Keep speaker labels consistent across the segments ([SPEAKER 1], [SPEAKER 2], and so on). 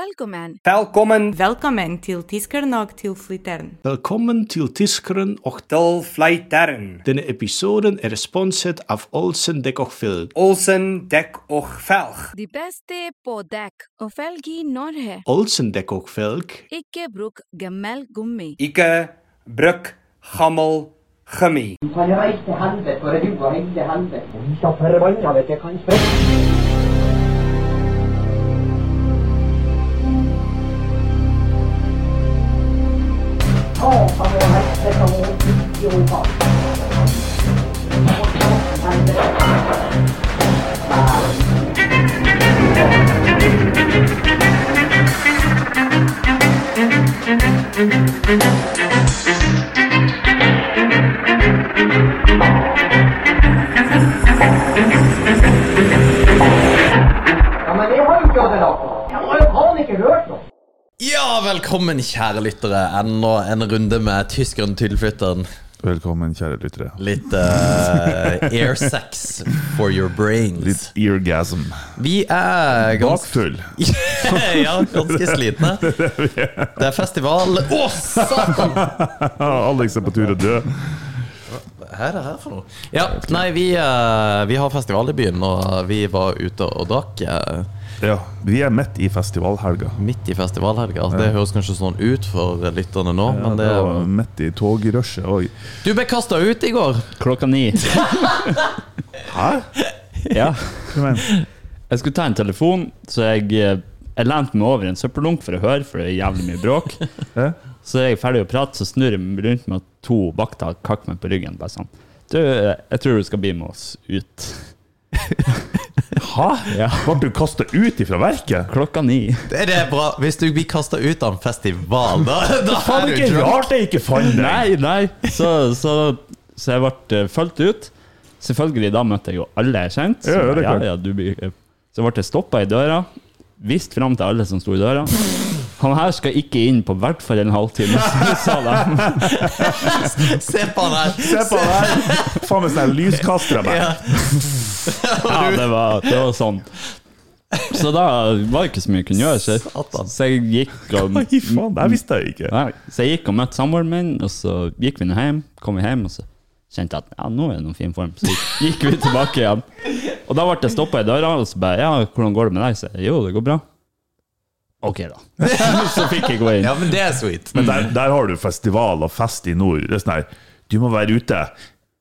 [SPEAKER 1] Velkommen.
[SPEAKER 2] Velkommen
[SPEAKER 3] Velkommen til Tiskernok til Flittern.
[SPEAKER 4] Velkommen til Tiskeren och
[SPEAKER 2] til Flytern.
[SPEAKER 4] denna episoden är sponset av Olsen Däck och Filk.
[SPEAKER 2] Olsen dek och velg.
[SPEAKER 1] De beste på dekk og felg i Norge.
[SPEAKER 4] Olsen Däck och Filk
[SPEAKER 1] Ikke bruk gammel gummi.
[SPEAKER 2] Ike, bruk, gammel, gummi.
[SPEAKER 5] kan reise til helvete, for du har reist til helvete. Vi skal forbanna vet jeg kan sprette. Ja, men jeg har jo ikke hatt det nok. Jeg har jo faen ikke hørt noe.
[SPEAKER 6] Ja, velkommen kjære lyttere. Enda en runde med tyskeren tilflytteren.
[SPEAKER 7] Velkommen, kjære lyttere.
[SPEAKER 6] Litt eh, air sex for your brains.
[SPEAKER 7] Litt eargasm.
[SPEAKER 6] Vi er ganske
[SPEAKER 7] Bakfull.
[SPEAKER 6] Ja, ganske slitne. Det er festival Å, satan!
[SPEAKER 7] Alex er på tur å dø.
[SPEAKER 6] Hva er det her for noe? Ja, nei, vi, eh, vi har festival i byen, og vi var ute og drakk eh,
[SPEAKER 7] Ja, Vi er midt i festivalhelga.
[SPEAKER 6] midt i festivalhelga. Altså, Det høres kanskje sånn ut for lytterne nå,
[SPEAKER 7] Ja,
[SPEAKER 6] men
[SPEAKER 7] det
[SPEAKER 6] det
[SPEAKER 7] var midt i togrushet òg.
[SPEAKER 6] Du ble kasta ut i går.
[SPEAKER 8] Klokka ni.
[SPEAKER 7] Hæ?
[SPEAKER 8] Ja.
[SPEAKER 7] Hva mener
[SPEAKER 8] Jeg skulle ta en telefon, så jeg, eh, jeg lente meg over en søppeldunk for å høre, for det er jævlig mye bråk.
[SPEAKER 7] Ja.
[SPEAKER 8] Så er jeg ferdig å prate, så snur jeg meg rundt med at to vakter kakker meg på ryggen. Bare sånn Du, eh, jeg tror du skal bli med oss ut.
[SPEAKER 7] Hæ?
[SPEAKER 8] Ja.
[SPEAKER 7] Ble du kasta ut ifra verket?
[SPEAKER 8] Klokka ni.
[SPEAKER 6] Det er bra. Hvis du blir kasta ut av en festival, da, da er
[SPEAKER 7] Faen,
[SPEAKER 6] du
[SPEAKER 7] ikke
[SPEAKER 6] drunk.
[SPEAKER 7] rart jeg ikke fant deg!
[SPEAKER 8] Nei, nei. Så, så, så jeg ble eh, fulgt ut. Selvfølgelig, da møtte jeg jo alle jeg kjente. Så,
[SPEAKER 7] Ja, det er
[SPEAKER 8] ja,
[SPEAKER 7] klart.
[SPEAKER 8] ja, du blir, eh, så ble jeg stoppa i døra, vist fram til alle som sto i døra. Han her skal ikke inn på hvert fall en halvtime, sa de.
[SPEAKER 6] Se på han her.
[SPEAKER 7] Se på han der! Faen meg sånn lyskaster jeg meg.
[SPEAKER 8] Ja, det var, det var sånn. Så da var det ikke så mye jeg kunne gjøre. Så,
[SPEAKER 6] Satan.
[SPEAKER 8] så jeg gikk og
[SPEAKER 7] Nei, faen, det her visste jeg ikke.
[SPEAKER 8] nei, Så jeg gikk og møtte samboeren min, og så gikk vi nå hjem. Kom vi hjem, og så kjente jeg at ja, nå er det noen fin form. Så gikk vi tilbake igjen. Og da ble jeg stoppa i døra, og så bare ja, hvordan går det med deg? Så jeg, jo, det går bra. Ok, da. Så fikk jeg gå inn.
[SPEAKER 6] Ja, men det er sweet.
[SPEAKER 7] Men der, der har du festival og fest i nord. Det er sånn her Du må være ute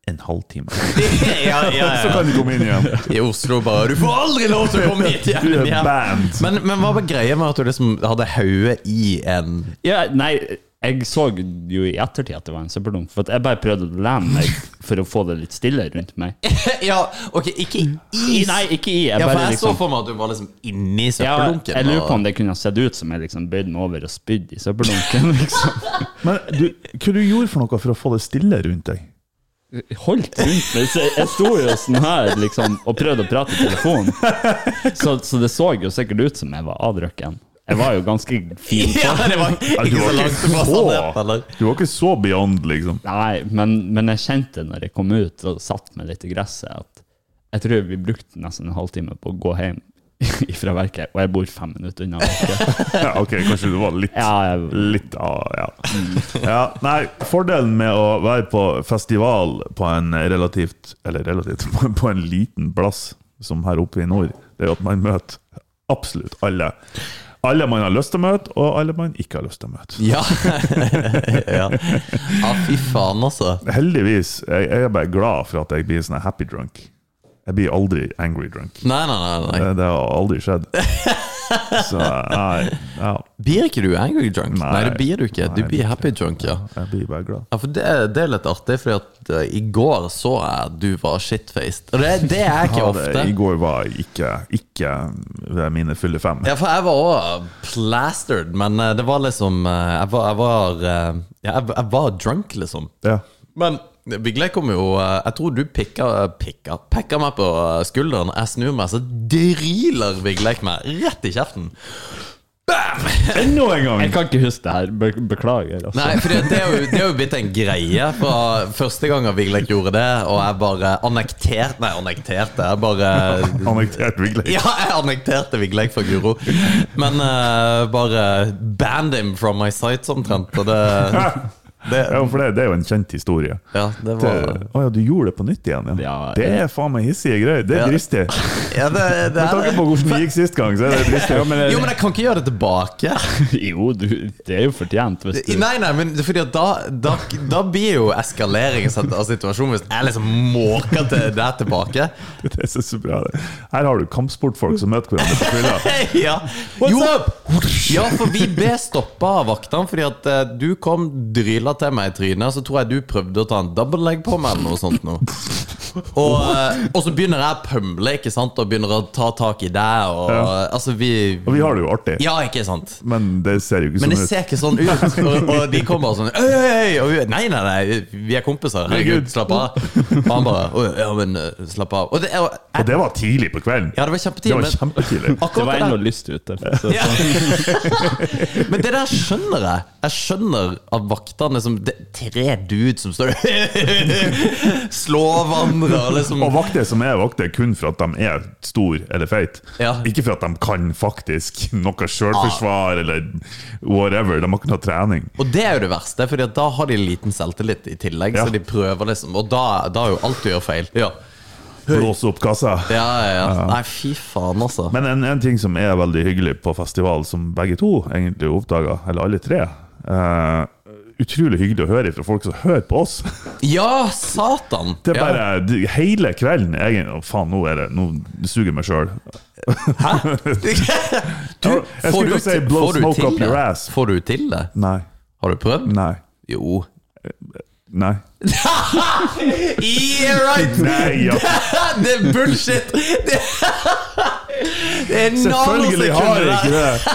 [SPEAKER 7] en halvtime,
[SPEAKER 6] Ja, ja,
[SPEAKER 7] så
[SPEAKER 6] ja.
[SPEAKER 7] kan du komme inn igjen.
[SPEAKER 6] I Oslo bare Du får aldri lov til å komme hit
[SPEAKER 7] Du
[SPEAKER 6] igjen!
[SPEAKER 7] er
[SPEAKER 6] Ja.
[SPEAKER 7] banned.
[SPEAKER 6] Men, men hva var greia med at du liksom hadde hodet i en
[SPEAKER 8] Ja, nei, jeg så jo i ettertid at det var en søppeldunk, for at jeg bare prøvde å lene meg for å få det litt stille rundt meg.
[SPEAKER 6] Ja, ok, ikke i
[SPEAKER 8] I, nei, ikke i. Jeg
[SPEAKER 6] Ja, for
[SPEAKER 8] bare
[SPEAKER 6] jeg så
[SPEAKER 8] liksom
[SPEAKER 6] for meg at du var liksom inni
[SPEAKER 8] ja,
[SPEAKER 6] søppeldunken.
[SPEAKER 8] jeg lurer på om
[SPEAKER 6] og-
[SPEAKER 8] det kunne ha sett ut som jeg liksom bøyde meg over og spydde i søppeldunken. Liksom.
[SPEAKER 7] Men du, hva du gjorde for noe for å få det stille rundt deg?
[SPEAKER 8] Holdt rundt meg. Så jeg- jeg sto jo sånn her liksom, og prøvde å prate i telefonen. Så, så det så jo sikkert ut som jeg var avdrukken. Jeg var jo ganske fin.
[SPEAKER 6] Ja, det var
[SPEAKER 7] Ja, du
[SPEAKER 6] ikke så
[SPEAKER 7] var
[SPEAKER 6] langt fra sannheten, eller?
[SPEAKER 7] Du var ikke så beyond, liksom.
[SPEAKER 8] Nei, men, men jeg kjente når jeg kom ut og satt meg litt i gresset, at jeg tror vi brukte nesten en halvtime på å gå hjem fra verket, og jeg bor fem minutter unna verket.
[SPEAKER 7] Ja, ok, kanskje du var litt
[SPEAKER 8] Ja, jeg,
[SPEAKER 7] Litt av, ja. ja. Nei, fordelen med å være på festival på en relativt Eller relativt, på en- på en liten plass som her oppe i nord, det er jo at man møter absolutt alle. Alle man har lyst til å møte, og alle man ikke har lyst til å møte.
[SPEAKER 6] Ja. ja. ja, fy faen, altså.
[SPEAKER 7] Heldigvis. Jeg, jeg er bare glad for at jeg blir sånn happy drunk. Jeg blir aldri angry drunk.
[SPEAKER 6] Nei, nei, nei. nei.
[SPEAKER 7] Det, det har aldri skjedd. Så nei, ja,
[SPEAKER 6] Blir ikke du angry drunk? Nei,
[SPEAKER 7] Nei.
[SPEAKER 6] det blir du ikke. Du
[SPEAKER 7] Nei,
[SPEAKER 6] blir
[SPEAKER 7] jeg
[SPEAKER 6] happy drunk, ja.
[SPEAKER 7] jeg blir bare glad.
[SPEAKER 6] Ja, for det, det er litt artig, Fordi at eh, i går så jeg at du var shitfaced. Og det, det er ikke
[SPEAKER 7] Ja, det,
[SPEAKER 6] ofte.
[SPEAKER 7] I går var jeg ikke, ikke ved mine fulle fem.
[SPEAKER 6] Ja, for jeg var òg plastered, men eh, det var liksom eh, Jeg var, jeg var, eh, ja, jeg, jeg var drunk, liksom.
[SPEAKER 7] Ja.
[SPEAKER 6] Men Bigle kom jo eh, Jeg tror du pikka eh, Pikka Pekka meg på eh, skulderen. Jeg snur meg, så driler Bigle meg rett i kjeften. Bam!
[SPEAKER 7] Enda en
[SPEAKER 8] Jeg
[SPEAKER 7] gang!
[SPEAKER 8] kan ikke huske det her. Be beklager. Altså.
[SPEAKER 6] Nei, for det, det, er jo, det er jo blitt en greie fra første gangen Vigleik gjorde det, og jeg bare annekterte Nei, annekterte. Jeg bare
[SPEAKER 7] Annektert Vigleik.
[SPEAKER 6] Ja, jeg annekterte Vigleik for Guro. Men eh, bare banned him from my sights, omtrent. Og det, det
[SPEAKER 7] Ja, for det, det er jo en kjent historie.
[SPEAKER 6] Ja, det
[SPEAKER 7] Å
[SPEAKER 6] var
[SPEAKER 7] ja, du gjorde det på nytt igjen? Ja.
[SPEAKER 8] Ja,
[SPEAKER 7] det er faen meg hissige greier. Det
[SPEAKER 6] Ja.
[SPEAKER 7] er dristig.
[SPEAKER 6] ja, det, det
[SPEAKER 7] Med tanke
[SPEAKER 6] er
[SPEAKER 7] på hvordan det gikk sist gang, så er det dristig.
[SPEAKER 8] Ja, men,
[SPEAKER 6] Jo, men jeg kan ikke gjøre det tilbake.
[SPEAKER 8] jo, du, det er jo fortjent hvis du
[SPEAKER 6] Nei, nei, men fordi at da, da, da blir jo eskalering av av situasjonen hvis jeg liksom måker til det tilbake.
[SPEAKER 7] Det er så- så bra. det. Her har du kampsportfolk som møter hverandre på fylla.
[SPEAKER 6] ja.
[SPEAKER 7] What's
[SPEAKER 6] jo,
[SPEAKER 7] up?
[SPEAKER 6] ja, for vi ble stoppa av vaktene fordi at eh, du kom dryla til meg i trynet, så tror jeg du prøvde å ta en double leg på meg eller noe sånt nå. Og, eh, og så begynner jeg å pømle, ikke sant, og begynner å ta tak i deg, og altså vi
[SPEAKER 7] Og vi har det jo artig,
[SPEAKER 6] Ja, ikke sant?
[SPEAKER 7] men det ser jo ikke
[SPEAKER 6] Men
[SPEAKER 7] sånn
[SPEAKER 6] det
[SPEAKER 7] ut.
[SPEAKER 6] ser ikke sånn ut. Og, og de kommer sånn øy, øy, øy, og vi, Nei, nei, nei, vi er kompiser. Herregud, slapp av. Og han bare «Å, Ja, men eh, slapp av. Og det, og,
[SPEAKER 7] Og det var tidlig på kvelden.
[SPEAKER 6] ja, det var
[SPEAKER 7] Det
[SPEAKER 6] kjempetidlig,
[SPEAKER 7] var
[SPEAKER 6] men
[SPEAKER 7] kjempetidlig.
[SPEAKER 8] Det
[SPEAKER 6] akkurat
[SPEAKER 8] var
[SPEAKER 6] det
[SPEAKER 8] ennå
[SPEAKER 6] der
[SPEAKER 8] lyst ute. for å si det
[SPEAKER 6] ja. Men det der skjønner jeg. Jeg skjønner at vaktene liksom, det, er Tre dudes som står Slår hverandre og liksom
[SPEAKER 7] Og vakter som er vakter kun for at de er stor eller feit.
[SPEAKER 6] Ja.
[SPEAKER 7] Ikke for at de kan faktisk noe
[SPEAKER 6] Ah.
[SPEAKER 7] sjølforsvar eller whatever. De har ikke noe trening.
[SPEAKER 6] Og det er jo det verste, Fordi at da har de liten selvtillit i tillegg.
[SPEAKER 7] Ja.
[SPEAKER 6] Så de prøver liksom Og da, da er jo alt du gjør feil. Ja.
[SPEAKER 7] Blåse opp kassa.
[SPEAKER 6] Ja, ja, ja. Nei, fy faen, altså.
[SPEAKER 7] Men en, en ting som er veldig hyggelig på festival, som begge to egentlig oppdaga, eller alle tre eh, Utrolig hyggelig å høre fra folk som hører på oss.
[SPEAKER 6] Ja, satan!
[SPEAKER 7] Det er
[SPEAKER 6] Ja.
[SPEAKER 7] bare de- Hele kvelden egen, å, Faen, nå er det Nå suger jeg meg sjøl.
[SPEAKER 6] Du,
[SPEAKER 7] Jeg
[SPEAKER 6] får du,
[SPEAKER 7] skulle si
[SPEAKER 6] til-
[SPEAKER 7] blow
[SPEAKER 6] får du
[SPEAKER 7] smoke
[SPEAKER 6] til
[SPEAKER 7] up your
[SPEAKER 6] det?
[SPEAKER 7] ass.
[SPEAKER 6] Får du til det?
[SPEAKER 7] Nei.
[SPEAKER 6] Har du prøvd?
[SPEAKER 7] Nei.
[SPEAKER 6] Jo.
[SPEAKER 7] Nei.
[SPEAKER 6] Yeah, right!
[SPEAKER 7] Nei ja.
[SPEAKER 6] det er bullshit! Det, det er
[SPEAKER 7] Selvfølgelig har jeg ikke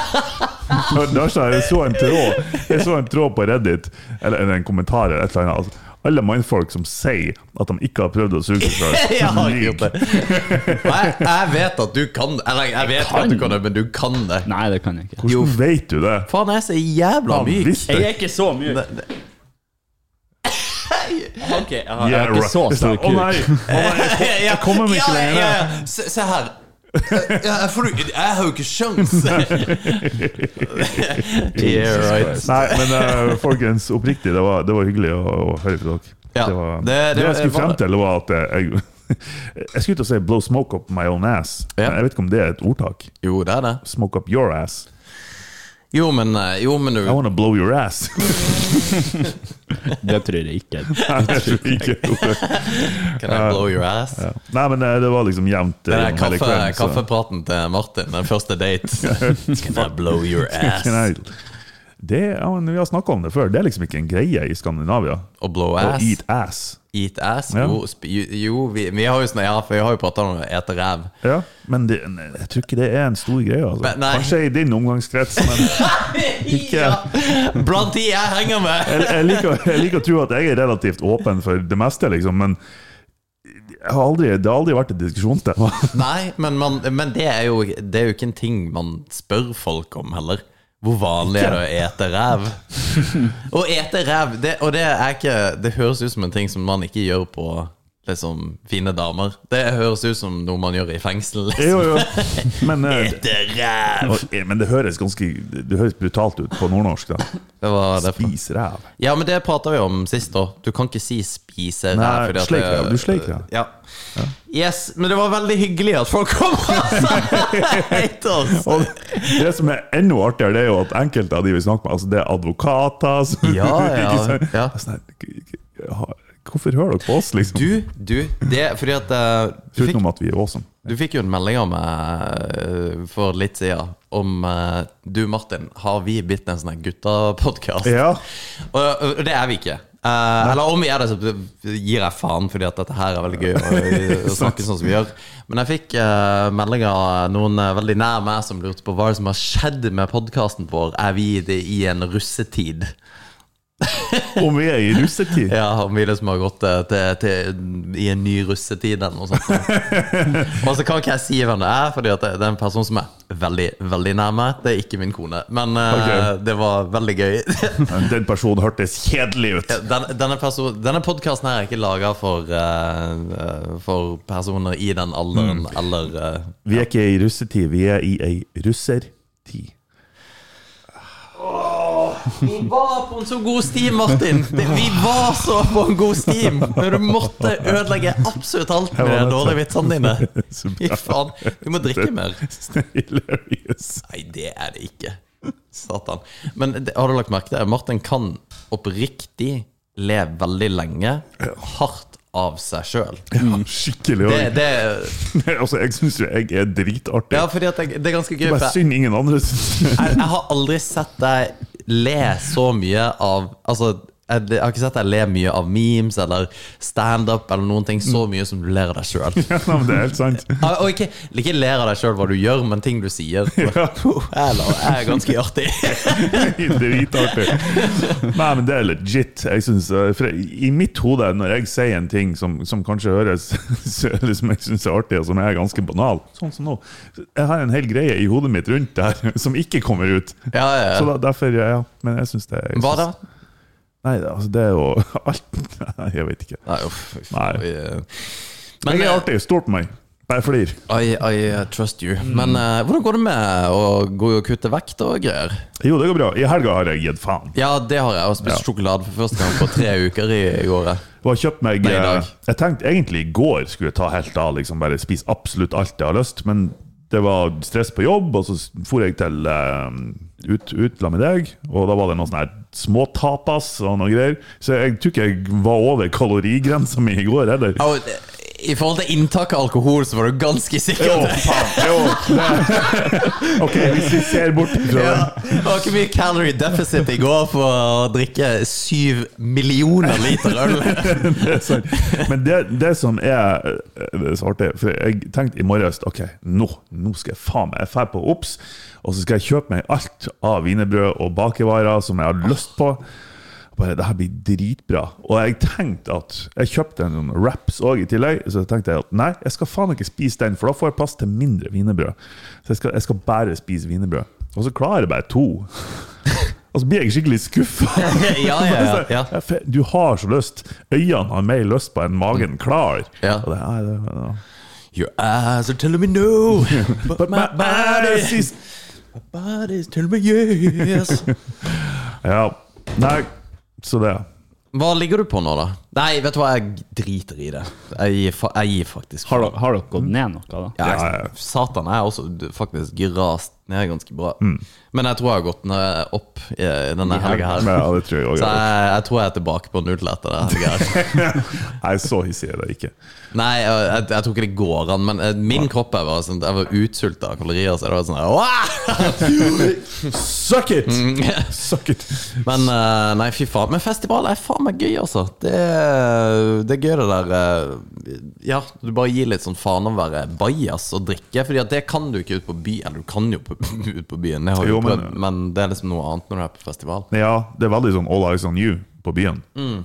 [SPEAKER 6] nanosekunder der.
[SPEAKER 7] det! Da- da sa jeg- jeg så en tråd Jeg så en tråd på Reddit, eller eller en kommentar eller et eller annet. altså, Alle mannfolk som sier at de ikke har prøvd å suge seg
[SPEAKER 6] Jeg har ikke gjort
[SPEAKER 7] sjøl.
[SPEAKER 6] det. Nei, jeg vet at du kan det. Eller jeg vet ikke at du kan det, men du kan det.
[SPEAKER 8] Nei, det kan jeg ikke.
[SPEAKER 7] Hvordan vet du det?
[SPEAKER 6] Faen, jeg er så jævla
[SPEAKER 7] Han
[SPEAKER 6] myk.
[SPEAKER 7] visste det.
[SPEAKER 8] ikke så mye
[SPEAKER 6] Det- det-
[SPEAKER 8] Ok, jeg har, jeg
[SPEAKER 7] Yeah,
[SPEAKER 8] har ikke
[SPEAKER 7] right.
[SPEAKER 8] så
[SPEAKER 7] Det er
[SPEAKER 8] stor
[SPEAKER 7] sånn, Å
[SPEAKER 8] kuk.
[SPEAKER 7] nei! Å nei, jeg kom- Jeg kommer meg ikke
[SPEAKER 6] Ja, ja,
[SPEAKER 7] lenger.
[SPEAKER 6] ja, ja. Se, se her. Ja, jeg, får, du- jeg har jo ikke sjans. yeah, right.
[SPEAKER 7] Nei, men eh, folkens, oppriktig, det var, det var hyggelig å, å høre fra dere.
[SPEAKER 6] Ja,
[SPEAKER 7] det, var,
[SPEAKER 6] det-
[SPEAKER 7] det,
[SPEAKER 6] det
[SPEAKER 7] jeg skulle
[SPEAKER 6] var-
[SPEAKER 7] frem til, var at jeg, jeg skulle til å si 'blow smoke up my own ass'.
[SPEAKER 6] Ja.
[SPEAKER 7] Jeg vet ikke om det er et ordtak.
[SPEAKER 6] Jo, det er det.
[SPEAKER 7] 'Smoke up your ass'.
[SPEAKER 6] Jo, men, eh, jo, men du
[SPEAKER 7] I wanna blow your ass.
[SPEAKER 8] Det tror jeg ikke.
[SPEAKER 7] Jeg tror ikke det var det.
[SPEAKER 6] Can I blow your ass?
[SPEAKER 7] Nei, men eh, det var liksom jevnt.
[SPEAKER 6] Den
[SPEAKER 7] eh,
[SPEAKER 6] der
[SPEAKER 7] gjennom hele
[SPEAKER 6] kaffe,
[SPEAKER 7] kvelden, så-
[SPEAKER 6] kaffepraten til Martin, den første date. Can I blow your ass?
[SPEAKER 7] Nei, det, ja, men vi har snakka om det før. Det er liksom ikke en greie i Skandinavia.
[SPEAKER 6] Og blow
[SPEAKER 7] Å
[SPEAKER 6] ass?
[SPEAKER 7] eat ass.
[SPEAKER 6] Eat ass?
[SPEAKER 7] Ja.
[SPEAKER 6] Jo, sp- jo vi, vi har jo sånn, ja, for vi har jo prata om å ete ræv.
[SPEAKER 7] Ja, men det, nei, jeg tror ikke det er en stor greie. Altså.
[SPEAKER 6] Men nei.
[SPEAKER 7] Kanskje i din omgangskrets, men Ikke-
[SPEAKER 6] Blant de jeg henger med!
[SPEAKER 7] jeg, jeg, liker, jeg liker å tro at jeg er relativt åpen for det meste, liksom. Men jeg har aldri, det har aldri vært et diskusjonstema.
[SPEAKER 6] Nei, men, man, men det, er jo, det er jo ikke en ting man spør folk om heller. Hvor vanlig er det å ete ræv? Å ete ræv, det, og det er ikke Det høres ut som en ting som man ikke gjør på liksom, fine damer. Det høres ut som noe man gjør i fengsel. Liksom.
[SPEAKER 7] Jo, jo. Men, eh,
[SPEAKER 6] Ete ræv!
[SPEAKER 7] og- eh, men det høres ganske Det høres brutalt ut på nordnorsk. da
[SPEAKER 6] Det var derfor.
[SPEAKER 7] Spis ræv.
[SPEAKER 6] Ja, men det prata vi om sist òg. Du kan ikke si 'spise
[SPEAKER 7] Nei,
[SPEAKER 6] ræv'. fordi at
[SPEAKER 7] sleik
[SPEAKER 6] det-
[SPEAKER 7] ræv. Du sleik ræv.
[SPEAKER 6] Ja. Yes, men det var veldig hyggelig at folk kom og hate oss.
[SPEAKER 7] Og det som er enda artigere, det er jo at enkelte av de vi snakker med, altså det er advokater som,
[SPEAKER 6] Ja, ja,
[SPEAKER 7] ikke sant?
[SPEAKER 6] ja.
[SPEAKER 7] Det er sånn her, ha- Hvorfor hører dere på oss, liksom?
[SPEAKER 6] Du, du, det Fordi at eh, du fikk,
[SPEAKER 7] Utenom at vi er awesome.
[SPEAKER 6] du fikk jo en melding av meg eh, for litt siden om eh, Du, Martin, har vi blitt en sånn guttapodkast?
[SPEAKER 7] Ja.
[SPEAKER 6] Og, og det er vi ikke. Eh, eller om vi er det, så gir jeg faen, fordi at dette her er veldig gøy å, å snakke sånn som vi gjør. Men jeg fikk eh, meldinger av noen eh, veldig nær meg som lurte på hva er det som har skjedd med podkasten vår. Er vi i det i en russetid?
[SPEAKER 7] Om vi er i russetid.
[SPEAKER 6] Ja, om vi liksom har gått eh, til, til, i en ny russetid eller noe sånt. Og så kan ikke jeg si hvem det er, Fordi at det det er en person som er veldig veldig nær meg. Det er ikke min kone. Men eh, det var veldig gøy.
[SPEAKER 7] Den personen hørtes kjedelig ut.
[SPEAKER 6] Den, denne person- denne podkasten er ikke laga for, eh, eh, for personer i den alderen eller eh,
[SPEAKER 7] Mm. Vi er ikke i russetid, vi er i ei russertid.
[SPEAKER 6] Vi var på en så god sti, Martin! Det- Vi var så på en god sti! Men du måtte ødelegge absolutt alt med
[SPEAKER 7] Jeg var
[SPEAKER 6] de
[SPEAKER 7] nødt til.
[SPEAKER 6] dårlige vitsene dine.
[SPEAKER 7] Så
[SPEAKER 6] Fy
[SPEAKER 7] bra.
[SPEAKER 6] faen. Du må drikke mer.
[SPEAKER 7] Hilarious.
[SPEAKER 6] Nei, det er det ikke. Satan. Men det, har du lagt merke til Martin kan oppriktig le veldig lenge, hardt av seg sjøl.
[SPEAKER 7] Ja, skikkelig.
[SPEAKER 6] Det, det,
[SPEAKER 7] altså, jeg syns jo jeg er dritartig.
[SPEAKER 6] ja, fordi at jeg, det er ganske gøy.
[SPEAKER 7] Det er
[SPEAKER 6] For
[SPEAKER 7] bare
[SPEAKER 6] jeg,
[SPEAKER 7] synd ingen andre syns
[SPEAKER 6] jeg, jeg har aldri sett deg le så mye av Altså, jeg, jeg har ikke sett deg le mye av memes eller standup eller noen ting så mye som du ler av deg sjøl.
[SPEAKER 7] Ja, men det er helt sant.
[SPEAKER 6] Og ikke, ikke ler av deg sjøl hva du gjør, men ting du sier. Jeg ler- jeg er ganske artig.
[SPEAKER 7] Dritartig. Nei, men det er legit. Jeg synes, eh, for I mitt hode, når jeg sier en ting som, som kanskje høres så- eller som jeg syns er artig, og som er ganske banal, sånn som nå Jeg har en hel greie i hodet mitt rundt det her som ikke kommer ut.
[SPEAKER 6] Ja, ja,
[SPEAKER 7] Så
[SPEAKER 6] ja.
[SPEAKER 7] da, derfor, ja. Men jeg syns det jeg
[SPEAKER 6] Hva
[SPEAKER 7] synes-
[SPEAKER 6] da?
[SPEAKER 7] Nei, det- altså, det er jo alt Nei, jeg vet ikke.
[SPEAKER 6] Nei, uff. uff.
[SPEAKER 7] Nei.
[SPEAKER 6] Oi, eh. Men,
[SPEAKER 7] Jeg er
[SPEAKER 6] eh,
[SPEAKER 7] artig. Stol på meg. Bare flir.
[SPEAKER 6] I, I eh, trust you. Men eh, hvordan går det med å gå og kutte vekt og greier?
[SPEAKER 7] Jo, det går bra. I helga har jeg gitt faen.
[SPEAKER 6] Ja, det har jeg. Og spist sjokolade for første gang på tre uker i, i året.
[SPEAKER 7] Og har kjøpt meg
[SPEAKER 6] Nei, i dag.
[SPEAKER 7] eh, Jeg tenkte egentlig i går skulle jeg ta helt av, liksom bare spise absolutt alt jeg har lyst, men det var stress på jobb, og så s- for jeg til eh, ut, ut sammen med deg, og da var det noen sånne her små tapas og noe greier, så jeg tror ikke jeg var over kalorigrensa mi i går heller.
[SPEAKER 6] Ja, og, eh, I forhold til inntak av alkohol, så var du ganske
[SPEAKER 7] Jo,
[SPEAKER 6] sikker.
[SPEAKER 7] faen, jo. det- Ok, hvis vi ser bort fra
[SPEAKER 6] Ja,
[SPEAKER 7] den
[SPEAKER 6] det var ikke mye calorie deficit i går for å drikke syv millioner liter øl.
[SPEAKER 7] Det er sant. Men det, det som er eh, det er så artig For jeg tenkte i morges Ok, nå, nå skal jeg faen meg Jeg drar på Ops, og så skal jeg kjøpe meg alt av wienerbrød og bakevarer som jeg har lyst på. Bare, det her blir dritbra. Og jeg tenkte at Jeg kjøpte en sånn wraps òg i tillegg, så tenkte jeg at nei, jeg skal faen ikke spise den, for da får jeg plass til mindre wienerbrød. Så jeg skal, jeg skal bare spise wienerbrød. Og så klarer jeg bare to. Og så blir jeg skikkelig skuffa.
[SPEAKER 6] Ja, ja, ja, ja.
[SPEAKER 7] Ja, for Du har så lyst. Øynene har mer lyst på enn magen klarer.
[SPEAKER 6] Ja.
[SPEAKER 7] Og det, nei, det, ja.
[SPEAKER 6] Your eyes are telling me no, but my body's body's telling me yes.
[SPEAKER 7] Ja. Nei, så det.
[SPEAKER 6] Hva ligger du på nå, da? Nei, vet du hva, jeg driter i det. Jeg gir, fa jeg gir faktisk
[SPEAKER 8] Har dere, har dere gått ned noe, da?
[SPEAKER 6] Ja, jeg, Satan jeg har også d- faktisk rast ned ganske bra. Men jeg tror jeg har gått ned opp i denne helga her.
[SPEAKER 7] Ja, det tror jeg
[SPEAKER 6] Så
[SPEAKER 7] også
[SPEAKER 6] jeg, jeg tror jeg er tilbake på null etter det. helga her.
[SPEAKER 7] Nei, så hissig er det ikke.
[SPEAKER 6] Nei, jeg, jeg, jeg tror ikke det går an, men eh, min kropp jeg var, sånn, jeg var utsulta av kalorier. Så det var sånn her, «Wah!»
[SPEAKER 7] Suck it!
[SPEAKER 6] Mm,
[SPEAKER 7] Suck it!
[SPEAKER 6] Men eh, nei, fy faen. Men festival er faen meg gøy, altså. Det, er- det er gøy, det der eh, Ja, du bare gir litt sånn faen om å være bajas og drikke. Fordi at det kan du ikke ut på by Eller du kan jo på, ut på byen, det har jeg
[SPEAKER 7] Jo,
[SPEAKER 6] jo
[SPEAKER 7] men-
[SPEAKER 6] prøvd, men det er liksom noe annet når du er på festival.
[SPEAKER 7] Ja, det er veldig sånn all eyes on you på byen.
[SPEAKER 6] Mm.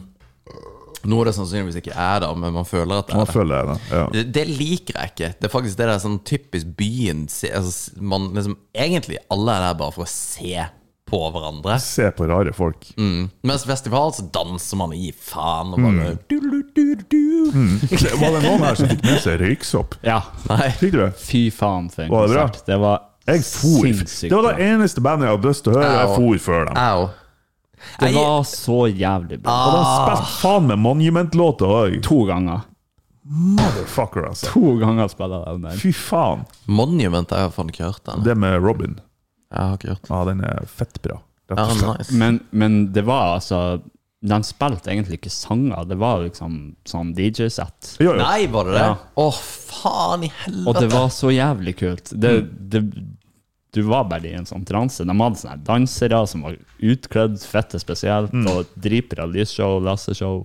[SPEAKER 6] Noe det sannsynligvis ikke er, da, men man føler at det
[SPEAKER 7] Man
[SPEAKER 6] er det.
[SPEAKER 7] føler det. Ja.
[SPEAKER 6] Det, det liker jeg ikke. Det er faktisk det der sånn typisk byen se- altså, s- man, liksom, Egentlig alle er der bare for å se på hverandre.
[SPEAKER 7] Se på rare folk.
[SPEAKER 6] Mm. Mens festival, så danser man og gir faen. Og bare du-du-du-du.
[SPEAKER 7] Det Var det noen her som fikk med seg røyksopp?
[SPEAKER 8] Ja.
[SPEAKER 6] Nei.
[SPEAKER 7] Fikk du det?
[SPEAKER 8] Fy faen for en
[SPEAKER 7] Var det bra?
[SPEAKER 8] konsert. Det var
[SPEAKER 7] Jeg for.
[SPEAKER 8] sinnssykt
[SPEAKER 7] Det var
[SPEAKER 8] bra.
[SPEAKER 7] det eneste bandet jeg hadde lyst til å høre. Jeg
[SPEAKER 6] Au.
[SPEAKER 7] for før dem.
[SPEAKER 6] Au.
[SPEAKER 8] Det var så jævlig bra.
[SPEAKER 7] Og de
[SPEAKER 6] Ah.
[SPEAKER 7] spilte faen meg Monument-låter òg.
[SPEAKER 8] To ganger.
[SPEAKER 7] Motherfucker, altså.
[SPEAKER 8] To ganger spiller jeg den der.
[SPEAKER 7] Fy faen.
[SPEAKER 6] Monument jeg har faen ikke hørt den.
[SPEAKER 7] Det med Robin.
[SPEAKER 6] Jeg har ikke hørt den.
[SPEAKER 7] Ja, den er fett bra. Rett
[SPEAKER 6] Ja,
[SPEAKER 7] og slett.
[SPEAKER 6] nice.
[SPEAKER 8] Men, men det var altså De spilte egentlig ikke sanger, det var liksom sånn DJ-sett.
[SPEAKER 7] Jo, jo.
[SPEAKER 6] Nei, var det det?
[SPEAKER 8] Ja.
[SPEAKER 6] Å, faen i helvete!
[SPEAKER 8] Og det var så jævlig kult. Det,
[SPEAKER 7] Mm.
[SPEAKER 8] det, du var bare i en sånn transe. De hadde sånne dansere som var utkledd fette spesielt,
[SPEAKER 7] Mm.
[SPEAKER 8] og dritbra lysshow, lasseshow.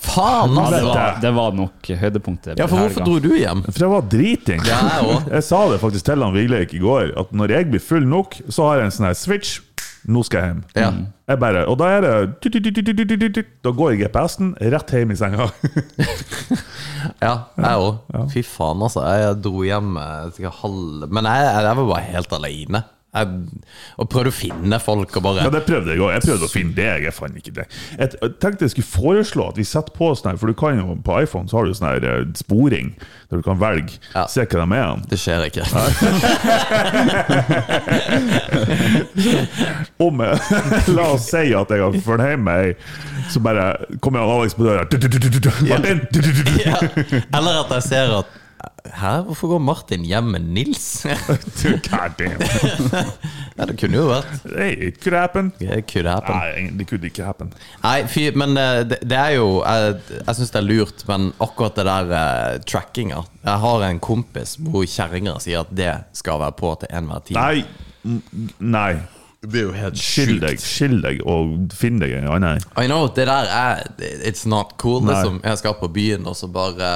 [SPEAKER 6] Faen,
[SPEAKER 8] Ja, det,
[SPEAKER 6] altså!
[SPEAKER 8] var, det var nok høydepunktet.
[SPEAKER 6] Ja, for hvorfor dro du hjem?
[SPEAKER 7] For jeg var driting.
[SPEAKER 6] Ja, jeg òg.
[SPEAKER 7] Jeg sa det faktisk til han Vigleik i går, at når jeg blir full nok, så har jeg en sånn her switch. Nå skal jeg hjem.
[SPEAKER 6] Ja.
[SPEAKER 7] Jeg bare, og da er det tut, tut, tut, tut, tut, tut, tut. Da går GPS-en rett hjem i senga.
[SPEAKER 6] Ja, jeg òg. Fy faen, altså. Jeg dro hjem eh, til halv Men jeg, jeg, jeg var bare helt aleine. Jeg- Og prøvde å finne folk og bare
[SPEAKER 7] Ja, det prøvde jeg òg. Jeg prøvde å finne deg, jeg fant ikke deg. Jeg t- jeg tenkte jeg skulle foreslå at vi setter på sånn her, for du kan jo på iPhone så har du sånn her eh, sporing, der du kan velge.
[SPEAKER 6] Ja.
[SPEAKER 7] Se hva de er. igjen.
[SPEAKER 6] Det skjer ikke.
[SPEAKER 7] Om jeg, la oss si at jeg har fornøyd meg, så bare kommer han Alex på døra. Tut, tut, tut, tut, tut. Martin! tut, tut, tut, tut.
[SPEAKER 6] Ja. Eller at jeg ser at Hæ, hvorfor går Martin hjem med Nils?
[SPEAKER 7] God damn.
[SPEAKER 6] ja, det kunne jo vært.
[SPEAKER 7] Hey, it could happen.
[SPEAKER 6] It could happen.
[SPEAKER 7] Nei, det kunne ikke happen.
[SPEAKER 6] Nei, fy, men eh, det, det er jo Jeg, jeg syns det er lurt, men akkurat det der eh, trackinga Jeg har en kompis hvor kjerringa sier at det skal være på til enhver tid.
[SPEAKER 7] Nei. mm, Nei.
[SPEAKER 6] det er jo helt
[SPEAKER 7] Skill deg, skill deg, og finn deg en annen.
[SPEAKER 6] I know, det der er It's not cool.
[SPEAKER 7] Nei.
[SPEAKER 6] Liksom. Jeg skal på byen, og så bare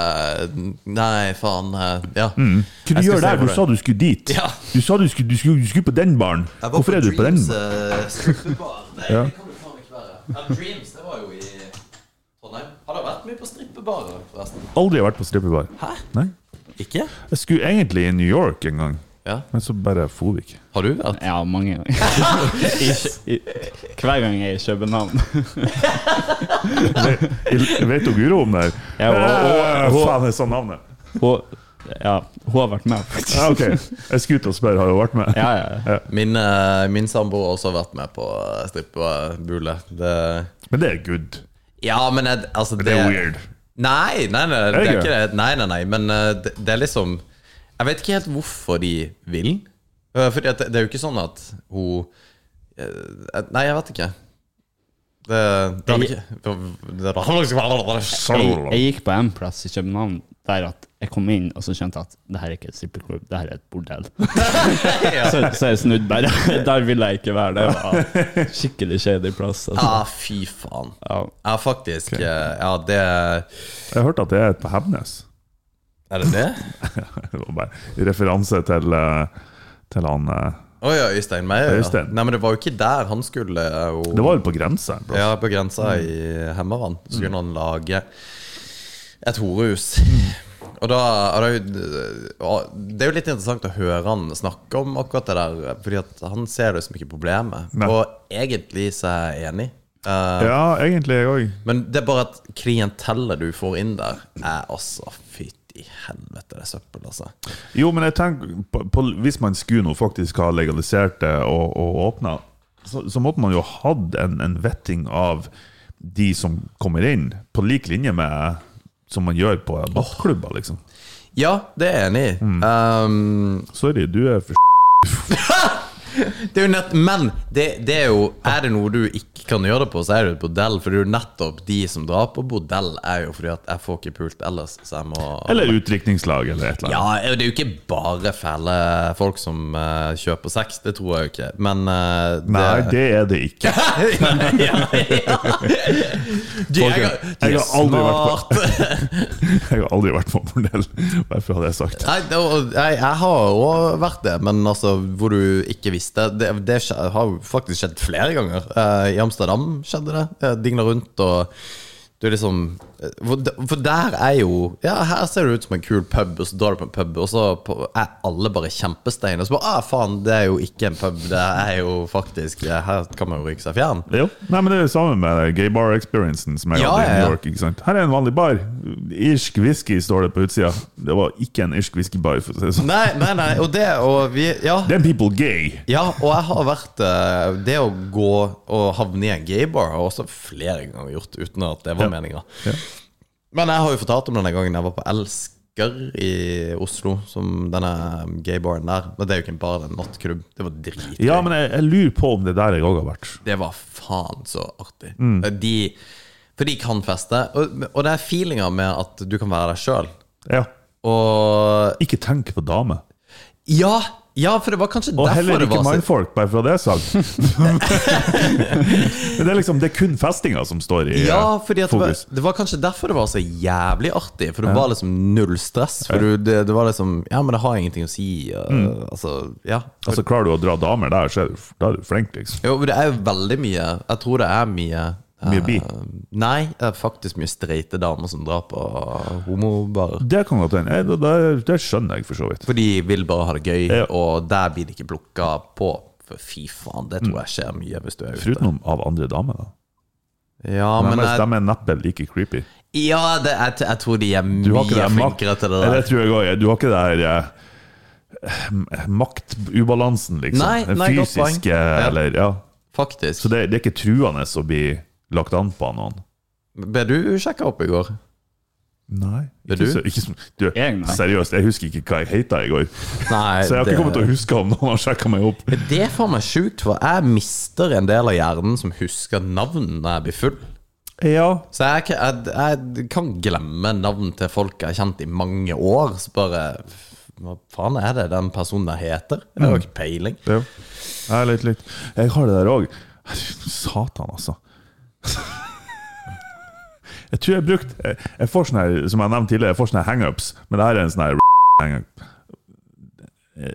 [SPEAKER 6] eh, Nei, faen. eh, Ja.
[SPEAKER 7] Mm. Hva
[SPEAKER 6] Jeg
[SPEAKER 7] du
[SPEAKER 6] skal
[SPEAKER 7] gjør
[SPEAKER 6] se
[SPEAKER 7] der?
[SPEAKER 6] hvor
[SPEAKER 7] Du sa du skulle dit.
[SPEAKER 6] Ja.
[SPEAKER 7] Du sa du skulle, du skulle, du skulle på den baren.
[SPEAKER 6] Jeg var
[SPEAKER 7] Hvorfor er du på den?
[SPEAKER 6] Dreams,
[SPEAKER 7] baren?
[SPEAKER 6] eh, strippebar. Nei,
[SPEAKER 7] Ja.
[SPEAKER 6] det kan du faen ikke være. Ja, Dreams, det var jo i Trondheim. Har det vært mye på strippebarer, forresten?
[SPEAKER 7] Aldri vært på strippebar.
[SPEAKER 6] Hæ?
[SPEAKER 7] Nei.
[SPEAKER 6] Ikke?
[SPEAKER 7] Jeg skulle egentlig i New York en gang,
[SPEAKER 6] Ja.
[SPEAKER 7] men så bare for vi ikke.
[SPEAKER 6] Har du vært?
[SPEAKER 8] Ja, mange ganger. I Kjø- i- Hver gang jeg er i København.
[SPEAKER 7] Jeg vet jo Guro om det her.
[SPEAKER 8] Ja, og- og-
[SPEAKER 7] Eh,
[SPEAKER 8] og-
[SPEAKER 7] Faen, jeg sa navnet.
[SPEAKER 8] Hun, ja, hun har vært med, faktisk.
[SPEAKER 7] Ja, ok. Jeg skulle ut og spørre, har du vært med?
[SPEAKER 8] Ja, ja. ja.
[SPEAKER 6] Min, eh, min samboer har også vært med på eh, strippebule. Det
[SPEAKER 7] Men det er good.
[SPEAKER 6] Ja, men jeg, altså
[SPEAKER 7] Men det er weird.
[SPEAKER 6] Nei, nei, nei, det er
[SPEAKER 7] ikke
[SPEAKER 6] ikke det. Nei, nei, nei, men eh, det, det er liksom Jeg vet ikke helt hvorfor de vil. Eh, Fordi at det, det er jo ikke sånn at hun eh, Nei, jeg vet ikke. Det, det hadde ikke det
[SPEAKER 8] Jeg, jeg gikk på en plass i København der at jeg kom inn og så skjønte at det her er ikke et strippeklubb, det her er et bordell. så, så jeg snudde bare. Der ville jeg ikke være. Det var skikkelig kjedelig plass. Altså.
[SPEAKER 6] Ja, Ah, fy faen.
[SPEAKER 8] Ja.
[SPEAKER 6] Ja, faktisk. eh, Ja, det
[SPEAKER 7] Jeg hørte at det er et på Hemnes.
[SPEAKER 6] Er det det?
[SPEAKER 7] Det var bare referanse til, eh, til han eh,
[SPEAKER 6] Å ja, Øystein Meyer. Ja.
[SPEAKER 7] Øystein.
[SPEAKER 6] Nei, men det var jo ikke der han skulle eh, og-
[SPEAKER 7] Det var jo på grensa en plass.
[SPEAKER 6] Ja, på grensa
[SPEAKER 7] Mm.
[SPEAKER 6] i Hemmeran så skulle han lage et horehus.
[SPEAKER 7] Mm.
[SPEAKER 6] Og da, og da og Det er jo litt interessant å høre han snakke om akkurat det der, Fordi at han ser det som ikke problemet.
[SPEAKER 7] Nei.
[SPEAKER 6] Og egentlig så er jeg enig. Eh,
[SPEAKER 7] Ja, egentlig jeg òg.
[SPEAKER 6] Men det er bare at klientellet du får inn der, er altså Fytti helvete, det er søppel, altså.
[SPEAKER 7] Jo, men jeg tenker på, på, Hvis man skulle nå faktisk ha legalisert det og, og åpna, så, så måtte man jo hatt en, en vetting av de som kommer inn, på lik linje med som man gjør på nattklubber, liksom.
[SPEAKER 6] Ja, det er jeg enig i.
[SPEAKER 7] Mm.
[SPEAKER 6] Um,
[SPEAKER 7] Sorry, du er for
[SPEAKER 6] Det er jo nett, men det, det er jo Er det noe du ikke kan gjøre det på, så er det jo et bordell. For det er jo nettopp de som drar på bordell, er jo fordi at jeg får ikke pult ellers, så jeg må
[SPEAKER 7] Eller utdrikningslag, eller et eller
[SPEAKER 6] Ja,
[SPEAKER 7] annet.
[SPEAKER 6] det er jo ikke bare fæle folk som eh, kjøper sex, det tror jeg jo ikke, men eh, det,
[SPEAKER 7] Nei, det er det ikke.
[SPEAKER 6] ja, ja. De,
[SPEAKER 7] Folk er- jeg har aldri vært
[SPEAKER 6] på
[SPEAKER 7] Jeg har aldri vært på bordell. Derfor hadde jeg sagt
[SPEAKER 6] Nei, det, og jeg, jeg har òg vært det, men altså hvor du ikke visste Det, det skje- har jo faktisk skjedd flere ganger. Eh, I Amsterdam skjedde det. Uh, Digna rundt og du er liksom eh, for, d- for der er jo Ja, her ser det ut som en kul pub, og så drar du på en pub, og så på, er alle bare kjempestein. Og så bare ah, faen, det er jo ikke en pub, det er jo faktisk eh, Her kan man jo ryke seg fjern.
[SPEAKER 7] Jo. Nei, men Det er det samme med gay bar experiencen som jeg
[SPEAKER 6] Ja,
[SPEAKER 7] hadde i
[SPEAKER 6] ja, ja.
[SPEAKER 7] New York. ikke sant? Her er en vanlig bar. Irsk whisky står det på utsida. Det var ikke en irsk whiskybar. for å si det sånn.
[SPEAKER 6] Nei, nei, nei, og det og vi Ja.
[SPEAKER 7] Them people gay.
[SPEAKER 6] Ja, og jeg har vært eh, Det å gå og havne i en gaybar har jeg også flere ganger gjort uten at det var
[SPEAKER 7] Ja.
[SPEAKER 6] meninga.
[SPEAKER 7] Ja.
[SPEAKER 6] Men jeg har jo fortalt om denne gangen jeg var på Elsker i Oslo, som denne gaybaren der. Men det er jo ikke en bar, det er en nattklubb. Det var dritgøy.
[SPEAKER 7] Ja, men jeg, jeg lurer på om det der jeg òg har vært.
[SPEAKER 6] Det var faen så artig.
[SPEAKER 7] Mm.
[SPEAKER 6] Eh, De, for de kan feste. Og, og det er feelinga med at du kan være deg sjøl.
[SPEAKER 7] Ja.
[SPEAKER 6] Og
[SPEAKER 7] Ikke tenk på dame.
[SPEAKER 6] Ja, Ja, for det var kanskje
[SPEAKER 7] Og
[SPEAKER 6] derfor
[SPEAKER 7] heller
[SPEAKER 6] det
[SPEAKER 7] ikke
[SPEAKER 6] var så
[SPEAKER 7] mannfolk, bare for det er sagt. Men det er liksom, det er kun festinga som står i
[SPEAKER 6] Ja,
[SPEAKER 7] eh,
[SPEAKER 6] fordi at det, var,
[SPEAKER 7] fokus.
[SPEAKER 6] det var kanskje derfor det var så jævlig artig. For det var liksom null stress. For du, det, det var liksom Ja, men det har ingenting å si. og-
[SPEAKER 7] Mm.
[SPEAKER 6] Altså, ja.
[SPEAKER 7] Altså, klarer du å dra damer der, så er du, da er du flink, liksom.
[SPEAKER 6] Jo, men det er jo veldig mye Jeg tror det er mye eh,
[SPEAKER 7] Mye bi?
[SPEAKER 6] Nei, det er faktisk mye streite damer som drar på homobarer.
[SPEAKER 7] Det kan godt hende. Eh, Det, det, det skjønner jeg, for så vidt.
[SPEAKER 6] For de vil bare ha det gøy,
[SPEAKER 7] Ja.
[SPEAKER 6] og der blir de ikke plukka på. For fy faen, det tror jeg skjer mye hvis du er ute.
[SPEAKER 7] Foruten av andre damer, da.
[SPEAKER 6] Ja,
[SPEAKER 7] Men
[SPEAKER 6] men
[SPEAKER 7] de,
[SPEAKER 6] jeg,
[SPEAKER 7] de er neppe like creepy.
[SPEAKER 6] ja det, jeg, t- jeg tror de er
[SPEAKER 7] Du har ikke
[SPEAKER 6] mye
[SPEAKER 7] det mak-
[SPEAKER 6] flinkere til det
[SPEAKER 7] Eh,
[SPEAKER 6] der.
[SPEAKER 7] Det tror jeg også, ja. Du har ikke det her eh, m- maktubalansen, liksom.
[SPEAKER 6] Nei,
[SPEAKER 7] Den
[SPEAKER 6] nei, godt poeng.
[SPEAKER 7] fysiske,
[SPEAKER 6] Ja.
[SPEAKER 7] eller Ja.
[SPEAKER 6] Faktisk.
[SPEAKER 7] Så det, det er ikke truende å bli lagt an på av noen.
[SPEAKER 6] Ble du sjekka opp i går?
[SPEAKER 7] Nei.
[SPEAKER 6] Er
[SPEAKER 7] Ikke
[SPEAKER 6] du?
[SPEAKER 7] så, ikke, som- du,
[SPEAKER 8] Jeg, nei.
[SPEAKER 7] seriøst, jeg husker ikke hva jeg heta i går.
[SPEAKER 6] Nei,
[SPEAKER 7] Så jeg har ikke kommet til å huske om noen har sjekka meg opp.
[SPEAKER 6] Det er faen meg sjukt, for jeg mister en del av hjernen som husker navn når jeg blir full.
[SPEAKER 7] Ja,
[SPEAKER 6] Så jeg, kan- jeg, jeg kan glemme navn til folk jeg har kjent i mange år. Så bare Hva faen er det den personen der heter? Jeg
[SPEAKER 7] Mm.
[SPEAKER 6] har jo ikke peiling.
[SPEAKER 7] Ja. Jeg er litt litt Jeg har det der òg. Satan, altså. Jeg tror jeg brukte jeg, jeg får sånne, her- Som jeg nevnte tidligere, jeg får sånne hangups. Men det her er en sånn her hangup.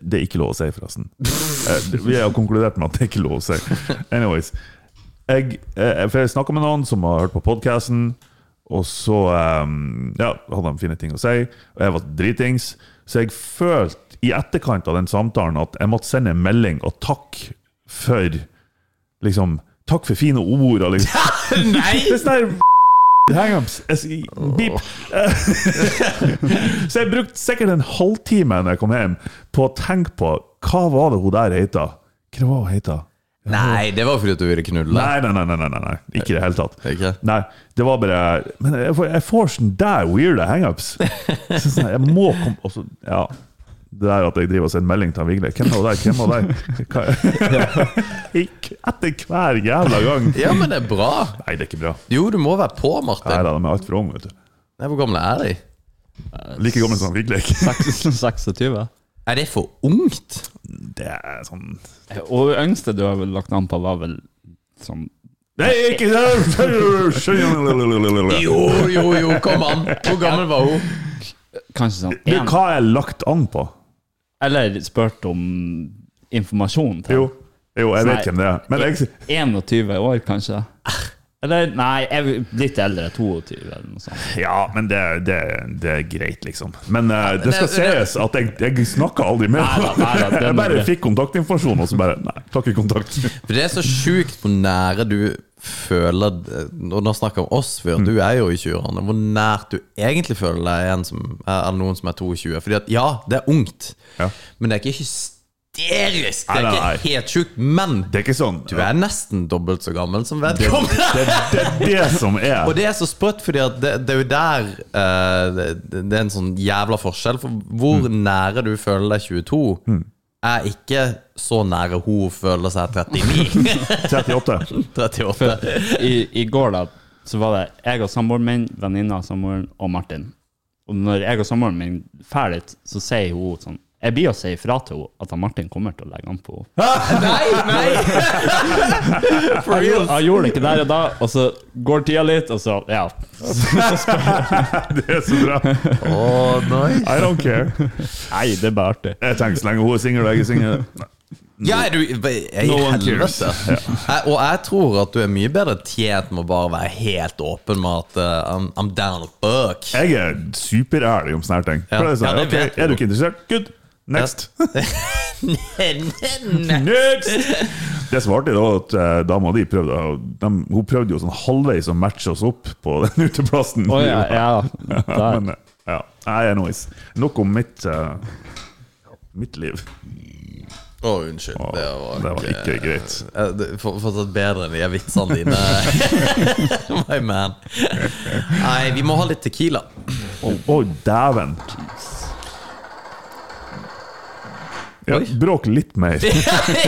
[SPEAKER 7] Det er ikke lov å si, forresten. Eh, Vi har konkludert med at det er ikke lov å si. Anyways. Jeg, eh, for jeg snakka med noen som har hørt på podkasten, og så eh, ja, hadde de fine ting å si. Og jeg var dritings. Så jeg følte i etterkant av den samtalen at jeg måtte sende en melding og takk for liksom Takk for fine ord og liksom
[SPEAKER 6] Nei!
[SPEAKER 7] Det er sånn her hangups. Jeg sier, Beep. Eh, så jeg brukte sikkert en halvtime når jeg kom hjem, på å tenke på hva var det hun der heita? Hva var hun heita?
[SPEAKER 6] Nei, det var fordi at du ville knulle.
[SPEAKER 7] Nei, nei, nei, nei, nei, nei, nei. Ikke i det hele tatt.
[SPEAKER 6] Ikke?
[SPEAKER 7] Nei, det var bare Men jeg får, jeg får sånn der weirde hangups. Så sånn, jeg må komme og så- Ja. Det der at jeg driver og sender melding til han Vigle Hvem er hun der? Hvem er hun der? Hva- Ikke Etter hver jævla gang.
[SPEAKER 6] Ja, men det er bra.
[SPEAKER 7] Nei, det er ikke bra.
[SPEAKER 6] Jo, du må være på,
[SPEAKER 7] Nei,
[SPEAKER 6] Martin.
[SPEAKER 7] da, de er altfor unge, vet du.
[SPEAKER 6] Nei, hvor gamle er de?
[SPEAKER 7] Like gammel som Vigle. Det
[SPEAKER 8] 26.
[SPEAKER 6] Er det for ungt?
[SPEAKER 7] er sånn
[SPEAKER 8] Eh, Og det yngste du har vel lagt navn på, var vel sånn
[SPEAKER 7] Nei, ikke det!
[SPEAKER 6] Jo, jo, jo, kom an. Hvor gammel var hun?
[SPEAKER 8] Kanskje sånn
[SPEAKER 7] Du,
[SPEAKER 8] én.
[SPEAKER 7] hva er lagt an på?
[SPEAKER 8] Eller spurt om informasjon til
[SPEAKER 7] Jo, jo jeg vet hvem det er. Men jeg,
[SPEAKER 8] 21 år, kanskje. Eller nei, jeg er litt eldre. 22 eller noe sånt.
[SPEAKER 7] Ja, men det, det, det er greit, liksom. Men eh, det skal
[SPEAKER 6] det- det-
[SPEAKER 7] sies at jeg, jeg snakka aldri med
[SPEAKER 8] Nei da,
[SPEAKER 7] henne.
[SPEAKER 8] nei da, det
[SPEAKER 7] Jeg
[SPEAKER 8] må
[SPEAKER 7] bare
[SPEAKER 8] det.
[SPEAKER 7] fikk kontaktinformasjon, og så bare Nei, takk i kontakt.
[SPEAKER 6] For det er så sjukt hvor nære du føler Og nå snakker jeg om oss før,
[SPEAKER 7] Mm.
[SPEAKER 6] du er jo i 20-årene. Hvor nært du egentlig føler deg en som, eller noen som er 22. Fordi at ja, det er ungt,
[SPEAKER 7] Ja.
[SPEAKER 6] men det er ikke hysterisk. Det
[SPEAKER 7] Nei,
[SPEAKER 6] er
[SPEAKER 7] nei,
[SPEAKER 6] ikke
[SPEAKER 7] nei.
[SPEAKER 6] helt sjukt. Men
[SPEAKER 7] Det er ikke sånn.
[SPEAKER 6] du er nesten dobbelt så gammel som vedkommende.
[SPEAKER 7] Det, det er det som er.
[SPEAKER 6] Og det er så sprøtt, fordi at det, det er jo der eh, det, det er en sånn jævla forskjell. For hvor
[SPEAKER 7] Mm.
[SPEAKER 6] nære du føler deg 22, er ikke så nære hun føler seg 39.
[SPEAKER 7] 38.
[SPEAKER 6] 38.
[SPEAKER 8] I, I går da, så var det jeg og samboeren min, venninna av samboeren og Martin. Og når jeg og samboeren min drar dit, så sier hun sånn Jeg blir å si ifra til henne at han Martin kommer til å legge an på henne.
[SPEAKER 6] Nei, nei! For
[SPEAKER 8] Jeg gjorde- jeg gjorde det ikke der og da, og så går tida litt, og så Ja.
[SPEAKER 7] Det er så bra. I don't care.
[SPEAKER 8] Nei, det er bare artig.
[SPEAKER 7] Jeg tenker så lenge hun er singel og jeg er singel
[SPEAKER 6] Ja, er du jeg,
[SPEAKER 7] No one cares.
[SPEAKER 6] helvete. Jeg, og jeg tror at du er mye bedre tjent med å bare være helt åpen med at eh, I'm, I'm down a buck.
[SPEAKER 7] Jeg er superærlig om sånne her ting.
[SPEAKER 6] Ja.
[SPEAKER 7] For det er, sånn,
[SPEAKER 6] Ja, det
[SPEAKER 7] ok,
[SPEAKER 6] vet du.
[SPEAKER 7] er du ikke interessert? Good. Next.
[SPEAKER 6] Nei,
[SPEAKER 7] Next! Det som var artig, da, var at eh, dama di prøvde å- de, Hun prøvde jo sånn halvveis å matche oss opp på den uteplassen.
[SPEAKER 8] Å ja, ja.
[SPEAKER 7] Ja,
[SPEAKER 8] Der.
[SPEAKER 7] men, ja. Nei, anyways. Nok om mitt, eh, mitt liv.
[SPEAKER 6] Å, unnskyld. Det var,
[SPEAKER 7] Det var ikke greit.
[SPEAKER 6] Eh, det- for- Fortsatt bedre enn de vitsene dine. My man. Nei, vi må ha litt tequila.
[SPEAKER 7] Å, dæven! Ja, bråk litt mer.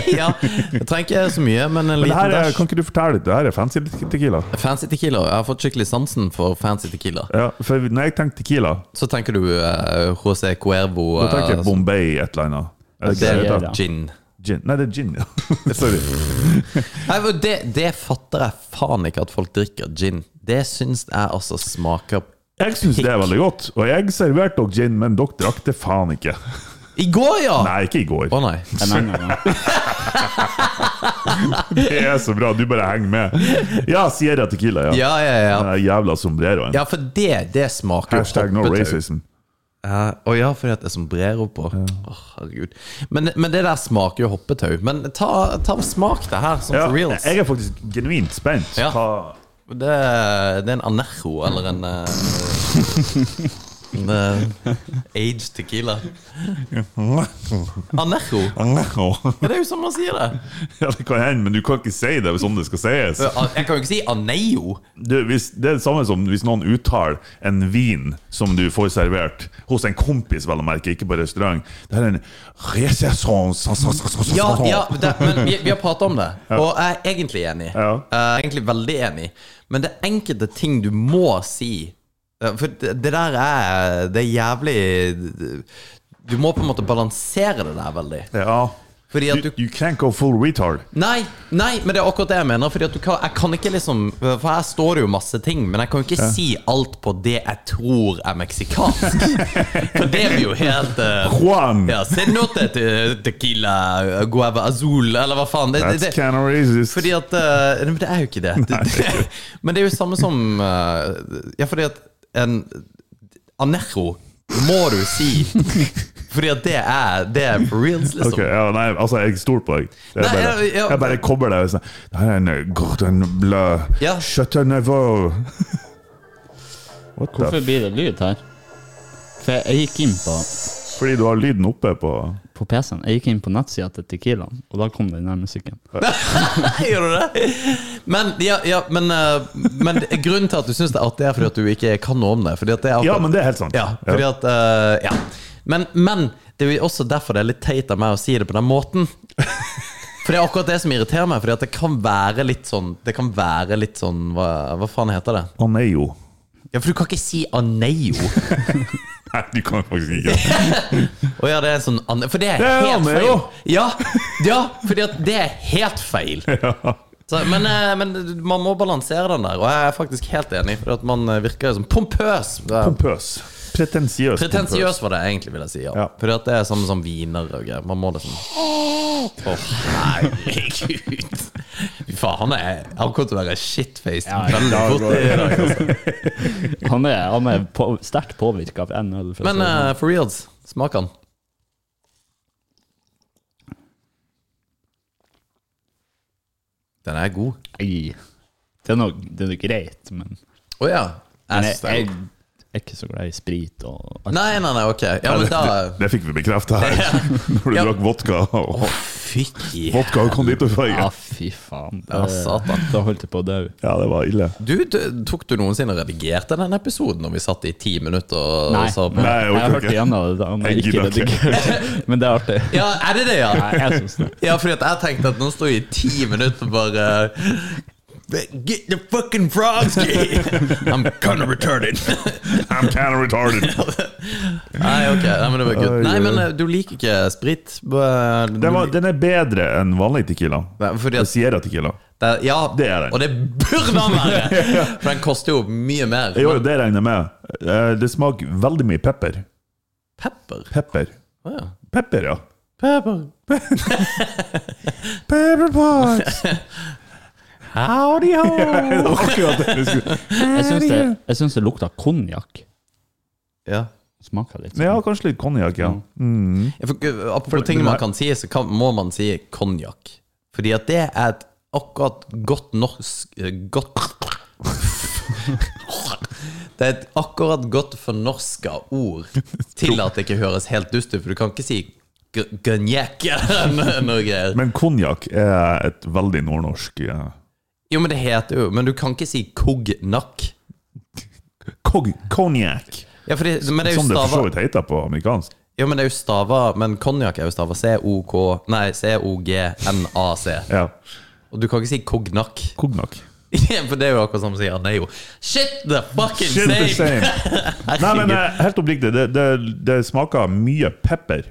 [SPEAKER 6] ja, jeg trenger ikke så mye, men en
[SPEAKER 7] Men det
[SPEAKER 6] liten
[SPEAKER 7] her er,
[SPEAKER 6] dash.
[SPEAKER 7] kan ikke du fortelle litt? Det her er fancy tequila.
[SPEAKER 6] Fancy tequila. Jeg har fått skikkelig sansen for fancy tequila.
[SPEAKER 7] Ja, for når jeg tenker tequila,
[SPEAKER 6] Så tenker du eh, José Cuervo
[SPEAKER 7] da tenker
[SPEAKER 6] eh,
[SPEAKER 7] jeg Bombay et eller annet. Er
[SPEAKER 6] Det
[SPEAKER 7] det
[SPEAKER 6] er
[SPEAKER 7] ikke
[SPEAKER 8] Bagheera.
[SPEAKER 7] det?
[SPEAKER 6] gin.
[SPEAKER 7] Gin. Nei, det er gin, ja. Sorry.
[SPEAKER 6] Nei, men det, det fatter jeg faen ikke at folk drikker gin. Det syns jeg altså smaker
[SPEAKER 7] Jeg syns det er veldig godt, og jeg serverte dere gin, men dere drakk det faen ikke.
[SPEAKER 6] I går, ja!
[SPEAKER 7] Nei, ikke i går.
[SPEAKER 6] Å nei.
[SPEAKER 8] En annen gang.
[SPEAKER 7] Det er så bra, du bare henger med. Ja, Sierra Tequila, ja.
[SPEAKER 6] Ja, ja, ja.
[SPEAKER 7] Den der jævla sombreroen.
[SPEAKER 6] Ja, for det, det smaker
[SPEAKER 7] Hashtag no
[SPEAKER 6] hoppetau.
[SPEAKER 7] racism.
[SPEAKER 6] Ja, Å ja, fordi at det er sombrero på. Åh, herregud. Men, men det der smaker jo hoppetau. Men ta, ta og smak det her, sånn
[SPEAKER 7] Ja,
[SPEAKER 6] for reals.
[SPEAKER 7] jeg er faktisk genuint spent.
[SPEAKER 6] Ja.
[SPEAKER 7] Hva-
[SPEAKER 6] Det, det er en anerro eller en eh, En eh, aged tequila. Anerro? Ja, det er jo sånn man sier det.
[SPEAKER 7] Ja, det kan hende, men du kan ikke si det sånn det skal sies.
[SPEAKER 6] Jeg kan jo ikke si aneio.
[SPEAKER 7] Du, hvis, det er det samme som hvis noen uttaler en vin som du får servert hos en kompis, vel å merke, ikke på restaurant. Det er en resesson
[SPEAKER 6] Ja, ja det, men vi, vi har prata om det, og jeg er egentlig enig. Eh,
[SPEAKER 7] Ja.
[SPEAKER 6] Jeg er egentlig veldig enig. Men det er enkelte ting du må si Eh, For det, det der er Det er jævlig Du må på en måte balansere det der veldig.
[SPEAKER 7] Ja.
[SPEAKER 6] Fordi at
[SPEAKER 7] You,
[SPEAKER 6] du
[SPEAKER 7] you can't go full retard.
[SPEAKER 6] Nei, nei, men det er akkurat det jeg mener. Fordi at du kan, jeg kan ikke liksom For her står det jo masse ting, men jeg kan jo ikke si alt på det jeg tror er meksikansk. For det blir jo helt eh,
[SPEAKER 7] Juan!
[SPEAKER 6] Ja, cenote te- tequila guava azul, eller hva faen. Det,
[SPEAKER 7] That's
[SPEAKER 6] det, det,
[SPEAKER 7] kind of racist.
[SPEAKER 6] fordi at eh, nei, Men det er jo ikke det. det, det men det er jo samme som eh, Ja, fordi at en Anerro må du si. Fordi at det er Det er for reals, liksom.
[SPEAKER 7] Ok, ja, nei, altså, jeg stoler på deg. Jeg
[SPEAKER 6] Nei,
[SPEAKER 7] bare,
[SPEAKER 6] ja, ja.
[SPEAKER 7] jeg bare kobler deg og sier Det her er en eh, Gordon Blø
[SPEAKER 6] Ja.
[SPEAKER 7] Chateauneuf." What the
[SPEAKER 8] Hvorfor blir det lyd her? For jeg- jeg gikk inn på,
[SPEAKER 7] f- Fordi du har lyden oppe på
[SPEAKER 8] på PC-en. Jeg gikk inn på nettsida til Tequilaen, og da kom den der musikken.
[SPEAKER 6] Gjør du det? Men, ja, ja, men, eh, men det- grunnen til at du syns det er artig, er fordi at du ikke kan noe om det. Fordi at det er
[SPEAKER 7] Ja, men det er helt sant.
[SPEAKER 6] ja, fordi at, eh, ja. Men, men det er jo også derfor det er litt teit av meg å si det på den måten. For det er akkurat det som irriterer meg, Fordi at det kan være litt sånn Det kan være litt sånn Hva, hva faen heter det?
[SPEAKER 7] Han er jo
[SPEAKER 6] Ja, For du kan ikke si aneio.
[SPEAKER 7] Nei, du kan faktisk ikke.
[SPEAKER 6] Å ja, det er sånn ane- For det er
[SPEAKER 7] Det er
[SPEAKER 6] helt feil.
[SPEAKER 7] aneo.
[SPEAKER 6] Ja, ja fordi at det er helt feil. Så, men, eh, men man må balansere den der, og jeg er faktisk helt enig. For at man eh, virker som pompøs. Eh,
[SPEAKER 7] Pompøs. Pretensiøs.
[SPEAKER 6] Pretensiøs var det jeg egentlig ville si. Ja.
[SPEAKER 7] Ja.
[SPEAKER 6] For at det er samme som viner og greier. Man må liksom Å, herregud. Fy faen, han er Han kommer til å være shitfaced veldig fort. i dag, altså.
[SPEAKER 8] Han er, han er på, sterkt påvirka av en øl. for å si
[SPEAKER 6] Men
[SPEAKER 8] det sånn.
[SPEAKER 6] eh, for reals, smak han. Den er god.
[SPEAKER 8] Ei. Det er noe, det er noe greit, men,
[SPEAKER 6] Å ja.
[SPEAKER 8] men
[SPEAKER 6] Jeg
[SPEAKER 8] jeg,
[SPEAKER 6] synes det er
[SPEAKER 8] jeg,
[SPEAKER 6] god.
[SPEAKER 8] er ikke så glad i sprit og alt.
[SPEAKER 6] Nei, nei, nei, ok. Ja,
[SPEAKER 7] Ja,
[SPEAKER 6] men
[SPEAKER 7] det,
[SPEAKER 6] da
[SPEAKER 7] det, det fikk vi bekrefta her, når du
[SPEAKER 6] Ja.
[SPEAKER 7] drakk vodka. Og,
[SPEAKER 6] Fytti
[SPEAKER 7] vodka og
[SPEAKER 8] Ja,
[SPEAKER 7] konditorfarge.
[SPEAKER 8] ah, fy faen.
[SPEAKER 6] Ja, satan.
[SPEAKER 8] Da holdt jeg på å dø.
[SPEAKER 7] Ja, det var ille.
[SPEAKER 6] Du, du- tok du noensinne og redigerte den episoden når vi satt i ti minutter og
[SPEAKER 8] Nei.
[SPEAKER 6] sa på?
[SPEAKER 7] Nei, jeg
[SPEAKER 8] Jeg har
[SPEAKER 7] orker
[SPEAKER 8] hørt
[SPEAKER 7] ikke.
[SPEAKER 8] igjennom det, da, men
[SPEAKER 7] Jeg
[SPEAKER 8] ikke
[SPEAKER 7] gidder ikke.
[SPEAKER 8] redigert. Men det er artig.
[SPEAKER 6] Ja, er det det, ja?
[SPEAKER 8] Nei, jeg synes det.
[SPEAKER 6] Ja, fordi at jeg tenkte at nå står vi i ti minutter og bare Get the fucking frogs gay! I'm kinda retarded.
[SPEAKER 7] I'm kind of retarded.
[SPEAKER 6] Nei, ok. Nei, men det var good.
[SPEAKER 7] Oi,
[SPEAKER 6] Nei,
[SPEAKER 7] oi.
[SPEAKER 6] men eh, du liker ikke sprit. Bare-
[SPEAKER 7] Den, var, den er bedre enn vanlig tequila.
[SPEAKER 6] Nei, fordi at-
[SPEAKER 7] Sierra tequila.
[SPEAKER 6] Det- Ja,
[SPEAKER 7] Det er den.
[SPEAKER 6] og det burde den være! For den koster jo mye mer.
[SPEAKER 7] Jo, det regner jeg med. Eh, Det smaker veldig mye pepper.
[SPEAKER 6] Pepper?
[SPEAKER 7] Pepper.
[SPEAKER 6] Å ja.
[SPEAKER 7] Pepper, ja.
[SPEAKER 6] Pepper.
[SPEAKER 7] Pepper pots!
[SPEAKER 6] Howdy ho!
[SPEAKER 7] Det var akkurat det jeg skulle
[SPEAKER 8] Jeg synes det, jeg synes det lukta konjakk.
[SPEAKER 6] Ja.
[SPEAKER 8] Smaker litt. sånn
[SPEAKER 7] Ja, kanskje litt konjakk, ja. Mm.
[SPEAKER 6] Ja, for, uh, Apropos ting man kan si, så kan, må man si konjakk. Fordi at det er et akkurat godt norsk eh, Godt Det er et akkurat godt fornorska ord til at det ikke høres helt dust ut, for du kan ikke si g- gonjakk eller noe greier.
[SPEAKER 7] Men konjakk er et veldig nordnorsk eh, ja.
[SPEAKER 6] Jo, men det heter jo Men du kan ikke si kognakk.
[SPEAKER 7] Kog- Konjakk!
[SPEAKER 6] Ja, fordi, men det er jo
[SPEAKER 7] Som Sånn det for så
[SPEAKER 6] stava
[SPEAKER 7] vidt heter på amerikansk.
[SPEAKER 6] Jo, men det er jo stava Men konjakk er jo stava C-O-K Nei, C-O-G-N-A-C.
[SPEAKER 7] Ja.
[SPEAKER 6] Og du kan ikke si kognakk.
[SPEAKER 7] Kognakk.
[SPEAKER 6] Ja, For det er jo akkurat samme som sier han er jo Shit the fucking
[SPEAKER 7] Shit the
[SPEAKER 6] same!
[SPEAKER 7] same. Nei, men eh, helt oppriktig, det, det, det smaker mye pepper.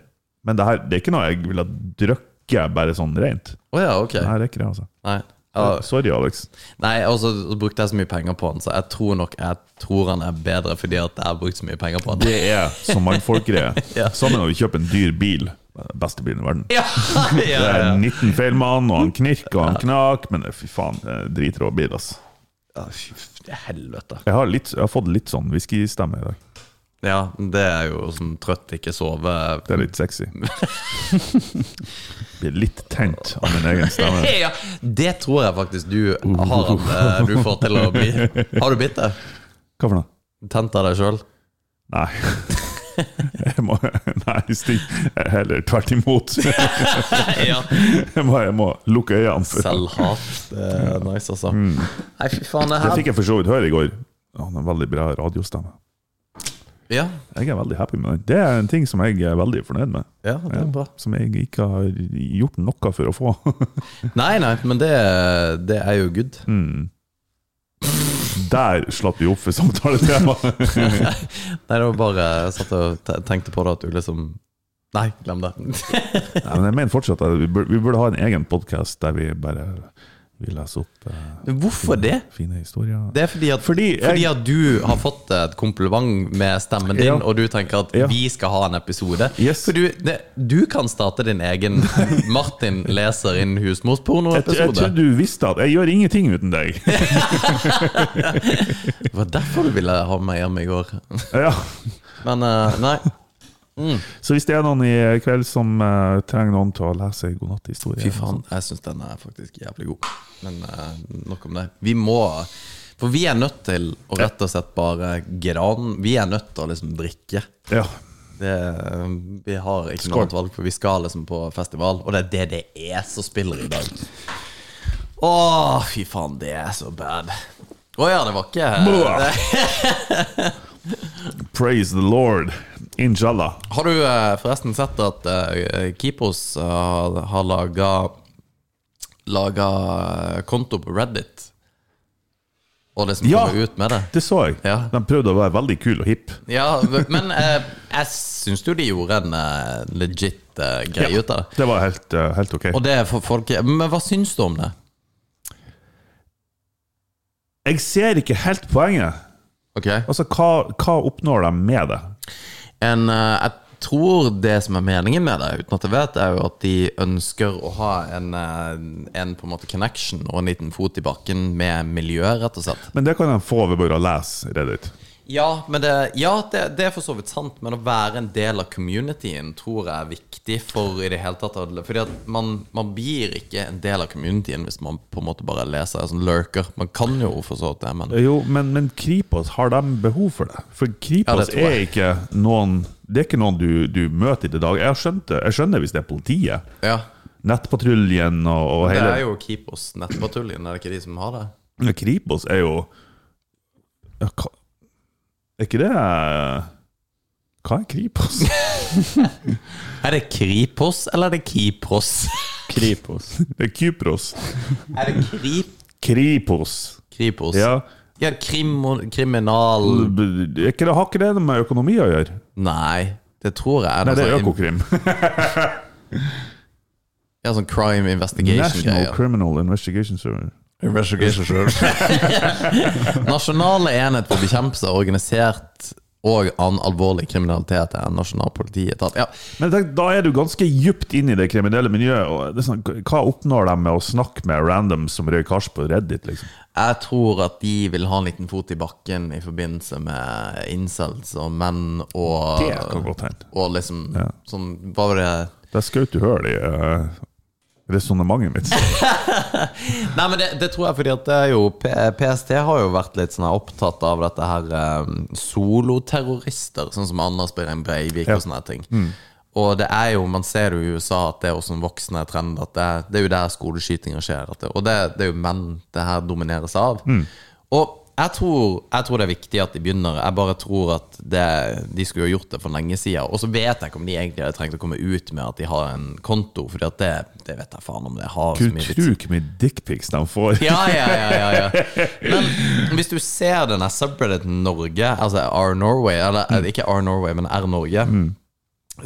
[SPEAKER 7] Men det her det er ikke noe jeg ville ha drukket bare sånn rent.
[SPEAKER 6] Å ja, ok.
[SPEAKER 7] Det her er ikke det, altså.
[SPEAKER 6] Nei. Ja,
[SPEAKER 7] Sorry, Alex.
[SPEAKER 6] Nei, og så brukte jeg så mye penger på den, så jeg tror nok jeg tror han er bedre fordi at jeg har brukt så mye penger på den.
[SPEAKER 7] Det er som mannfolkgreie.
[SPEAKER 6] Ja.
[SPEAKER 7] Sammen med å kjøpe en dyr bil. Beste bilen i verden.
[SPEAKER 6] Ja, ja,
[SPEAKER 7] Det
[SPEAKER 6] ja.
[SPEAKER 7] er 19 feil mann, og han knirk og han knak, men det- fy faen, det er dritrå bil, ass.
[SPEAKER 6] Ja, fy f- til Helvete.
[SPEAKER 7] Jeg har, litt, jeg har fått litt sånn whiskystemme i dag.
[SPEAKER 6] Ja, det er jo sånn trøtt, ikke sove
[SPEAKER 7] Det er litt sexy. Blir litt tent av min egen stemme.
[SPEAKER 6] ja, Det tror jeg faktisk du har at eh, du får til å bli. Har du blitt det?
[SPEAKER 7] Hva for noe?
[SPEAKER 6] Tent av deg sjøl?
[SPEAKER 7] Nei. Jeg må, nei, Stig. Heller tvert imot. Jeg
[SPEAKER 6] Ja.
[SPEAKER 7] må, jeg må lukke øynene. for- Mm.
[SPEAKER 6] Selvhat. Det er nice, altså. Nei, fy faen, det
[SPEAKER 7] Det
[SPEAKER 6] her
[SPEAKER 7] fikk jeg for så vidt høre i går. Han har veldig bra radiostemme.
[SPEAKER 6] Ja,
[SPEAKER 7] Jeg er veldig happy med den. Det er en ting som jeg er veldig fornøyd med.
[SPEAKER 6] ja det er
[SPEAKER 7] Ja,
[SPEAKER 6] bra.
[SPEAKER 7] som jeg ikke har gjort noe for å få.
[SPEAKER 6] Nei, nei, men det, det er jo good.
[SPEAKER 7] Mm. Der slapp vi opp for samtaletemaet.
[SPEAKER 6] Nei, det var bare Jeg satt og te- tenkte på det at du liksom Nei, glem det.
[SPEAKER 7] Nei, men jeg mener fortsatt at vi burde, vi burde ha en egen podkast der vi bare vi leser opp eh,
[SPEAKER 6] Hvorfor det?
[SPEAKER 7] fine historier.
[SPEAKER 6] Det er fordi at, fordi
[SPEAKER 7] Fordi jeg-
[SPEAKER 6] at du har fått et kompliment med stemmen din,
[SPEAKER 7] Ja.
[SPEAKER 6] og du tenker at
[SPEAKER 7] Ja.
[SPEAKER 6] vi skal ha en episode.
[SPEAKER 7] Yes.
[SPEAKER 6] For du, det, du kan starte din egen Martin leser inn
[SPEAKER 7] jeg, tr- jeg
[SPEAKER 6] husmorsporno-episode.
[SPEAKER 7] trodde du visste at jeg gjør ingenting uten deg.
[SPEAKER 6] Det var derfor du ville ha meg hjem i går.
[SPEAKER 7] ja.
[SPEAKER 6] Men eh, nei.
[SPEAKER 7] Så hvis det er noen i kveld som eh, trenger noen til å lese en godnatthistorie
[SPEAKER 6] Fy faen, jeg syns den er faktisk jævlig god. Men eh, nok om det. Vi må For vi er nødt til å rett og slett bare gran Vi er nødt til å liksom drikke.
[SPEAKER 7] Ja.
[SPEAKER 6] Det, vi har ikke noe
[SPEAKER 7] Skål.
[SPEAKER 6] annet valg, for vi skal liksom på festival, og det er det det er som spiller i dag. Å, fy faen, det er så bad. Å ja, det var ikke
[SPEAKER 7] Blah. Praise the Lord. Inshallah.
[SPEAKER 6] Har du eh, forresten sett at eh, Kipos eh, har- har laga Laga eh, konto på Reddit? Og liksom
[SPEAKER 7] Ja.
[SPEAKER 6] kommer ut med det?
[SPEAKER 7] Det så jeg.
[SPEAKER 6] Ja.
[SPEAKER 7] De prøvde å være veldig kul og hipp.
[SPEAKER 6] Ja, men eh, jeg syns jo de gjorde en eh, legit eh, greie ut av det.
[SPEAKER 7] Det var helt, eh, helt ok.
[SPEAKER 6] Og det er for folk Men hva syns du om det?
[SPEAKER 7] Jeg ser ikke helt poenget.
[SPEAKER 6] Ok
[SPEAKER 7] Altså, hva, hva oppnår de med det?
[SPEAKER 6] en, eh, Jeg tror det som er meningen med det, uten at jeg vet, er jo at de ønsker å ha en, eh, en på en måte connection og en liten fot i bakken med miljøet, rett og slett.
[SPEAKER 7] Men det kan de få ved bare å lese Reddit.
[SPEAKER 6] Ja, men det, ja det, det er for så vidt sant, men å være en del av communityen tror jeg er viktig for i det hele tatt. å- Fordi at man, man blir ikke en del av communityen hvis man på en måte bare leser som lurker. Man kan jo for så vidt det, men
[SPEAKER 7] Jo, men, men Kripos, har de behov for det? For Kripos
[SPEAKER 6] Ja, det tror
[SPEAKER 7] er
[SPEAKER 6] jeg.
[SPEAKER 7] ikke noen Det er ikke noen du, du møter i det dag. Jeg, har skjønt det. jeg skjønner hvis det er politiet.
[SPEAKER 6] ja.
[SPEAKER 7] Nettpatruljen og, og
[SPEAKER 6] Det
[SPEAKER 7] hele
[SPEAKER 6] er jo Keepers nettpatruljen, er det ikke de som har det?
[SPEAKER 7] Men Kripos er jo ja, hva, Er ikke det eh, Hva er Kripos?
[SPEAKER 6] Er det Kripos, eller er det Kipros?
[SPEAKER 8] Kripos.
[SPEAKER 7] Det er Kypros.
[SPEAKER 6] Er det Krip...
[SPEAKER 7] Kripos.
[SPEAKER 6] Kripos?
[SPEAKER 7] Ja. Mm.
[SPEAKER 6] Ja, krim, kriminal...
[SPEAKER 7] Er ikke det, har ikke det noe med økonomi å gjøre?
[SPEAKER 6] Nei, det tror jeg er noe
[SPEAKER 7] Nei, det er
[SPEAKER 6] sånn-
[SPEAKER 7] Økokrim.
[SPEAKER 6] Ja, sånn crime
[SPEAKER 7] National
[SPEAKER 6] investigation-greier.
[SPEAKER 7] Criminal Investigation Server.
[SPEAKER 6] Nasjonale enhet for bekjempelse av organisert og annen alvorlig kriminalitet er en nasjonal politietat. Ja,
[SPEAKER 7] Men tenk, da er du ganske djupt inn i det kriminelle miljøet. Og det er sånn, hva oppnår de med å snakke med randoms som røyker hasj på Reddit? liksom?
[SPEAKER 6] jeg tror at de vil ha en liten fot i bakken i forbindelse med incels og menn og
[SPEAKER 7] Det kan godt hende.
[SPEAKER 6] Og liksom sånn Hva var det
[SPEAKER 7] Der skjøt du hull i uh, resonnementet mitt.
[SPEAKER 6] Nei, men det, det tror jeg fordi at det er jo P PST har jo vært litt sånn her opptatt av dette her eh, soloterrorister, sånn som Anders Behring Breivik og sånne her ting. Og det er jo, man ser jo i USA at det er også en voksende trend at det, er- det er jo der skoleskytinger skjer. At det, og det, det er jo menn det her domineres av. Og jeg tror, jeg tror det er viktig at de begynner. Jeg bare tror at det, de skulle jo gjort det for lenge siden. Og så vet jeg ikke om de egentlig hadde trengt å komme ut med at de har en konto, Fordi at det, det vet jeg faen om det har så
[SPEAKER 7] Du
[SPEAKER 6] mye vits.
[SPEAKER 7] tror hvor mye dickpics de får.
[SPEAKER 6] Ja, ja, ja, ja, ja. Men hvis du ser denne subredditen Norge, altså R Norway, eller eh, ikke R Norway, men R Norge,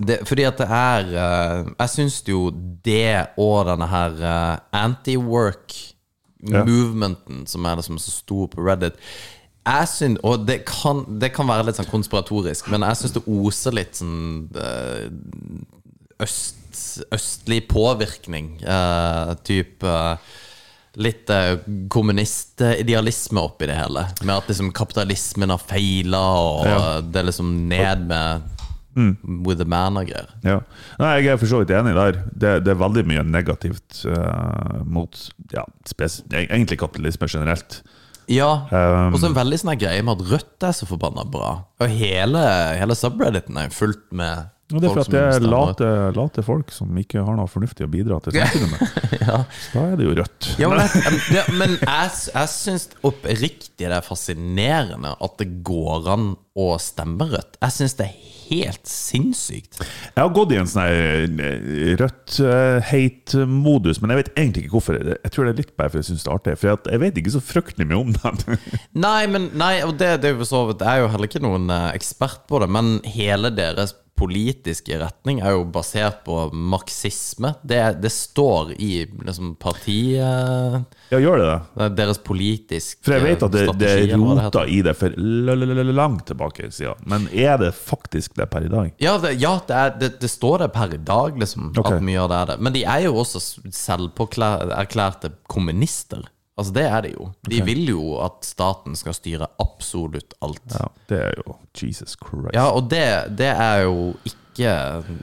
[SPEAKER 6] det, fordi at det er eh, Jeg syns jo det og denne her eh, anti-work-movementen som er det som er så stor på Reddit jeg synes, og det kan, det kan være litt sånn konspiratorisk, men jeg syns det oser litt sånn eh, øst, østlig påvirkning. Uh, type eh, litt eh, kommunistidealisme oppi det hele. Med at liksom kapitalismen har feila, og
[SPEAKER 7] Ja. Mm.
[SPEAKER 6] det er liksom ned med with the man og greier.
[SPEAKER 7] Ja. Nei, jeg er for så vidt enig der. Det, det er veldig mye negativt eh, mot ja, spes e-, egentlig kapitalisme generelt.
[SPEAKER 6] Ja,
[SPEAKER 7] Um,
[SPEAKER 6] og så en veldig sånn her greie med at Rødt er så forbanna bra. Og hele, hele subredditen er fullt med
[SPEAKER 7] Og det er for at
[SPEAKER 6] som
[SPEAKER 7] det er
[SPEAKER 6] stemmer.
[SPEAKER 7] late, late folk som ikke har noe fornuftig å bidra til samfunnet med. Så Da er det jo rødt.
[SPEAKER 6] Ja, men jeg, det, men jeg, jeg syns oppriktig det er fascinerende at det går an å stemme rødt. Jeg syns det er helt sinnssykt.
[SPEAKER 7] Jeg har gått i en sånn her eh, rødt-hate-modus, men jeg vet egentlig ikke hvorfor. Jeg tror det er litt bare fordi jeg syns det er artig, for at jeg vet ikke så fryktelig mye om dem.
[SPEAKER 6] Nei, men nei, og det, det er jo for så vidt Jeg er jo heller ikke noen eh, ekspert på det, men hele deres politiske retning er jo basert på marxisme. Det, det står i liksom partiet
[SPEAKER 7] Ja, gjør det det?
[SPEAKER 6] Deres politiske
[SPEAKER 7] For jeg vet at det, det
[SPEAKER 6] strategier, hva det heter.
[SPEAKER 7] rota i det for l- l- l- langt tilbake i sida, men er det faktisk det per i dag?
[SPEAKER 6] Ja, det, ja det, er, det, det står det per i dag, liksom.
[SPEAKER 7] Ok.
[SPEAKER 6] At mye av det er det. Men de er jo også s- selvpåerklærte kommunister. Altså, det er de jo. De vil jo at staten skal styre absolutt alt. Ja,
[SPEAKER 7] Ja, det er jo Jesus Christ.
[SPEAKER 6] og det, det er jo ikke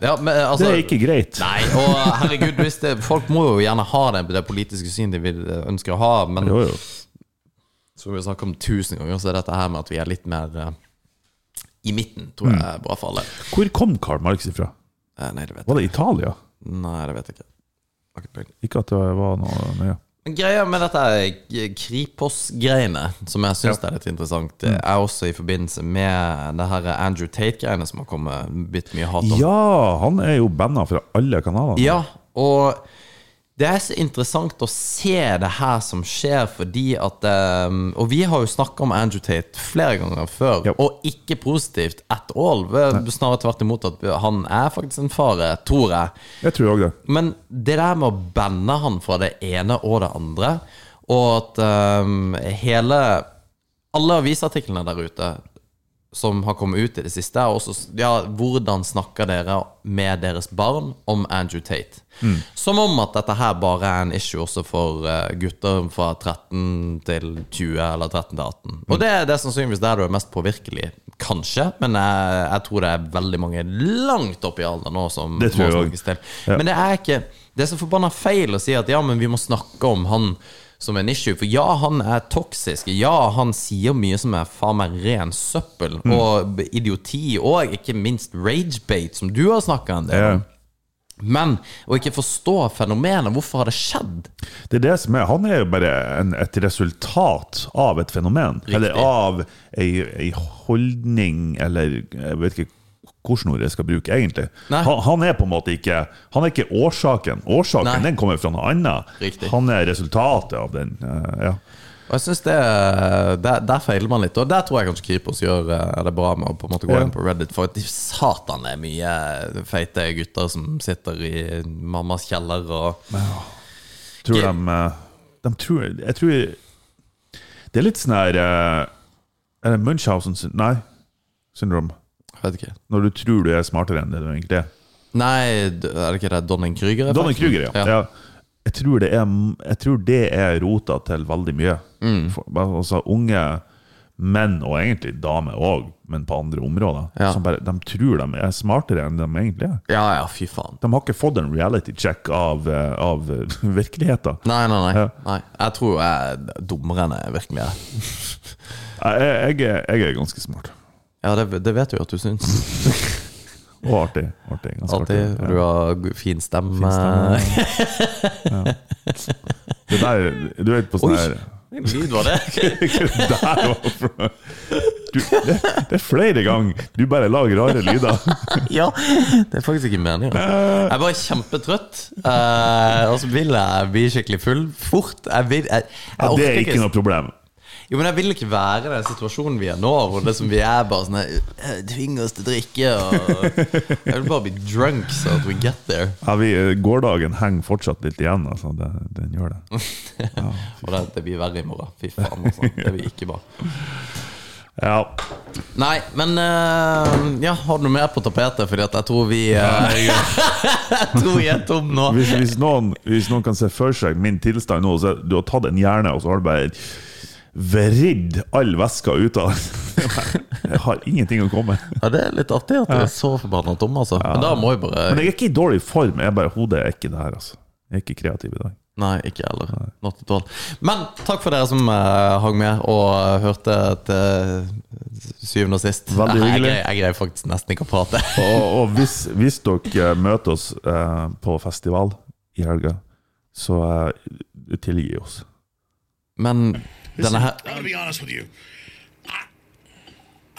[SPEAKER 6] ja, men, altså,
[SPEAKER 7] det er ikke greit.
[SPEAKER 6] Nei, og herregud, hvis det, folk må jo gjerne ha det, det politiske synet de vil, eh, ønsker å ha, men
[SPEAKER 7] Jo, jo.
[SPEAKER 6] som vi har snakket om tusen ganger, så er dette her med at vi er litt mer eh, i midten, tror
[SPEAKER 7] Mm.
[SPEAKER 6] jeg er bra for alle.
[SPEAKER 7] Hvor kom Karl Marx ifra?
[SPEAKER 6] Eh, Nei, det vet jeg
[SPEAKER 7] Var det Italia?
[SPEAKER 6] Nei, det vet jeg ikke. Har ikke peiling.
[SPEAKER 7] Ikke at det var noe nøye.
[SPEAKER 6] Men Greia med dette er Kripos-greiene, som jeg syns er litt interessant, det
[SPEAKER 7] Mm.
[SPEAKER 6] er også i forbindelse med det her Andrew Tate-greiene som har kommet blitt mye hat om.
[SPEAKER 7] Ja, han er jo banna fra alle kanalene.
[SPEAKER 6] Ja, og det er så interessant å se det her som skjer, fordi at ehm, Og vi har jo snakka om Andrew Tate flere ganger før,
[SPEAKER 7] Ja.
[SPEAKER 6] og ikke positivt at all. Snarere tvert imot at han er faktisk en fare, tror jeg.
[SPEAKER 7] Jeg tror òg det.
[SPEAKER 6] Men det der med å banne han fra det ene og det andre, og at ehm, hele Alle avisartiklene der ute som har kommet ut i det siste, er også s- ja, hvordan snakker dere med deres barn om Andrew Tate?
[SPEAKER 7] Mm.
[SPEAKER 6] Som om at dette her bare er en issue også for eh, gutter fra 13 til 20, eller 13 til 18.
[SPEAKER 7] Mm.
[SPEAKER 6] Og det, det er sannsynligvis der du er mest påvirkelig, kanskje, men jeg, jeg tror det er veldig mange langt opp i alderen nå som
[SPEAKER 7] Det tror
[SPEAKER 6] må
[SPEAKER 7] jeg også.
[SPEAKER 6] snakkes til. Men det er ikke Det er så forbanna feil å si at ja, men vi må snakke om han som en issue. For ja, han er toksisk. Ja, han sier mye som er faen meg ren søppel
[SPEAKER 7] Mm.
[SPEAKER 6] og idioti, og ikke minst ragebate, som du har snakka en del om.
[SPEAKER 7] Ja.
[SPEAKER 6] Men å ikke forstå fenomenet, hvorfor har det skjedd?
[SPEAKER 7] Det er det som er, Han er jo bare en, et resultat av et fenomen. Eller av ei, ei holdning, eller jeg vet ikke hvilket ord jeg skal bruke, egentlig.
[SPEAKER 6] Nei.
[SPEAKER 7] Han, han er på en måte ikke Han er ikke årsaken. Årsaken
[SPEAKER 6] Nei.
[SPEAKER 7] den kommer fra noe annet.
[SPEAKER 6] Riktig.
[SPEAKER 7] Han er resultatet av den. eh, ja.
[SPEAKER 6] Og jeg synes det, der, der feiler man litt, og der tror jeg kanskje Kripos gjør eh, det bra med å på en måte gå
[SPEAKER 7] Ja.
[SPEAKER 6] inn på Reddit, for at de satan det er mye feite gutter som sitter i mammas kjeller og
[SPEAKER 7] Tror
[SPEAKER 6] Ikke-
[SPEAKER 7] de, eh, de tror, Jeg tror Det er litt sånn her eh, Er det Munchhausen syn- Nei, syndrom.
[SPEAKER 6] jeg vet ikke.
[SPEAKER 7] Når du tror du er smartere enn det du egentlig er.
[SPEAKER 6] Nei, d- er det ikke det Donning-Krüger?
[SPEAKER 7] Donald Kruger, ja. ja. Jeg, tror det er, jeg tror det er rota til veldig mye. For, altså unge menn, og egentlig damer òg, men på andre områder,
[SPEAKER 6] Ja.
[SPEAKER 7] som bare, de tror de er smartere enn de egentlig er.
[SPEAKER 6] Ja, ja, fy faen.
[SPEAKER 7] De har ikke fått en reality check av, eh, av virkeligheten.
[SPEAKER 6] Nei, nei, nei.
[SPEAKER 7] Ja.
[SPEAKER 6] nei. Jeg tror jeg er dummere enn jeg virkelig er.
[SPEAKER 7] Jeg, jeg, er- jeg er ganske smart.
[SPEAKER 6] Ja, det, det vet du jo at du syns.
[SPEAKER 7] Og artig. artig ganske
[SPEAKER 6] Alltid.
[SPEAKER 7] artig.
[SPEAKER 6] Du har g- fin stemme.
[SPEAKER 7] Fin stemme. Det der, du vet på sånn
[SPEAKER 6] Oi.
[SPEAKER 7] her
[SPEAKER 6] Lyd var det?
[SPEAKER 7] Det der var fra- du, det, det er flere ganger du bare lager rare lyder.
[SPEAKER 6] ja. Det er faktisk ikke meningen. Jeg er bare kjempetrøtt, eh, og så vil jeg bli skikkelig full fort. Jeg, vil, jeg, jeg
[SPEAKER 7] Ja, det
[SPEAKER 6] orker
[SPEAKER 7] er ikke noe problem.
[SPEAKER 6] Jo, men jeg vil ikke være i den situasjonen vi er nå, hvor det som vi er bare sånn her, Tving oss til å drikke og Jeg vil bare bli drunk so that we get there.
[SPEAKER 7] Ja, vi, eh, gårdagen henger fortsatt litt igjen, altså. Det, den gjør det.
[SPEAKER 6] Og det, det blir verre i morgen. Fy faen, altså. Det blir ikke bra.
[SPEAKER 7] Ja.
[SPEAKER 6] Nei, men eh, Ja, har du noe mer på tapetet? Fordi at jeg tror vi eh, Jeg tror vi er tom nå.
[SPEAKER 7] Hvis, hvis, noen, hvis noen kan se for seg min tilstand nå, så er- du har tatt en hjerne, og så har du bare vridd all væska ut av den. Jeg har ingenting å komme med.
[SPEAKER 6] Ja, Det er litt artig at du er så forbanna tom, altså. Men da må jeg
[SPEAKER 7] Men
[SPEAKER 6] bare
[SPEAKER 7] jeg er ikke i dårlig form. Jeg er bare Hodet er ikke det her, altså. Jeg er ikke kreativ i dag.
[SPEAKER 6] Nei, ikke jeg heller. Not at all. Men takk for dere som eh, hang med og eh, hørte til syvende og sist. Nei,
[SPEAKER 7] Veldig
[SPEAKER 6] jeg,
[SPEAKER 7] hyggelig.
[SPEAKER 6] greier- jeg greier faktisk nesten ikke å prate.
[SPEAKER 7] Og, og hvis, hvis dere møter oss eh, på festival i helga, så eh, tilgi oss.
[SPEAKER 6] Men denne her
[SPEAKER 9] I'm gonna be honest with you. I,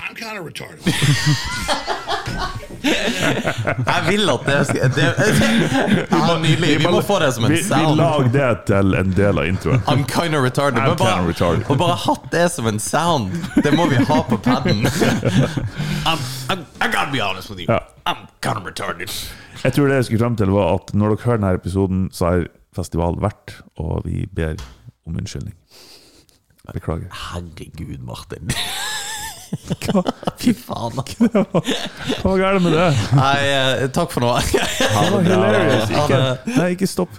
[SPEAKER 9] I'm kind of retarded.
[SPEAKER 6] Jeg vil at det skal det, ja, Nydelig. Vi må få det som en
[SPEAKER 7] Vi, vi
[SPEAKER 6] sound.
[SPEAKER 7] lag det til en del av introen.
[SPEAKER 6] I'm kind of retarded.
[SPEAKER 7] I'm
[SPEAKER 6] Men bare,
[SPEAKER 7] kinda retarded.
[SPEAKER 6] Og bare hatt det som en sound. Det må vi ha på paden.
[SPEAKER 9] I'm, I, I gotta be honest with you.
[SPEAKER 7] Ja.
[SPEAKER 9] I'm kind of retarded.
[SPEAKER 7] Jeg tror det jeg skulle frem til, var at når dere hører denne episoden, så er festival verdt, og vi ber om unnskyldning. Beklager.
[SPEAKER 6] Herregud, Martin. Fy faen. altså.
[SPEAKER 7] Hva er det med det?
[SPEAKER 6] Nei, eh, takk for nå.
[SPEAKER 7] Det var hilarious.
[SPEAKER 6] Ha
[SPEAKER 7] Ikke,
[SPEAKER 6] det.
[SPEAKER 7] nei, ikke stopp.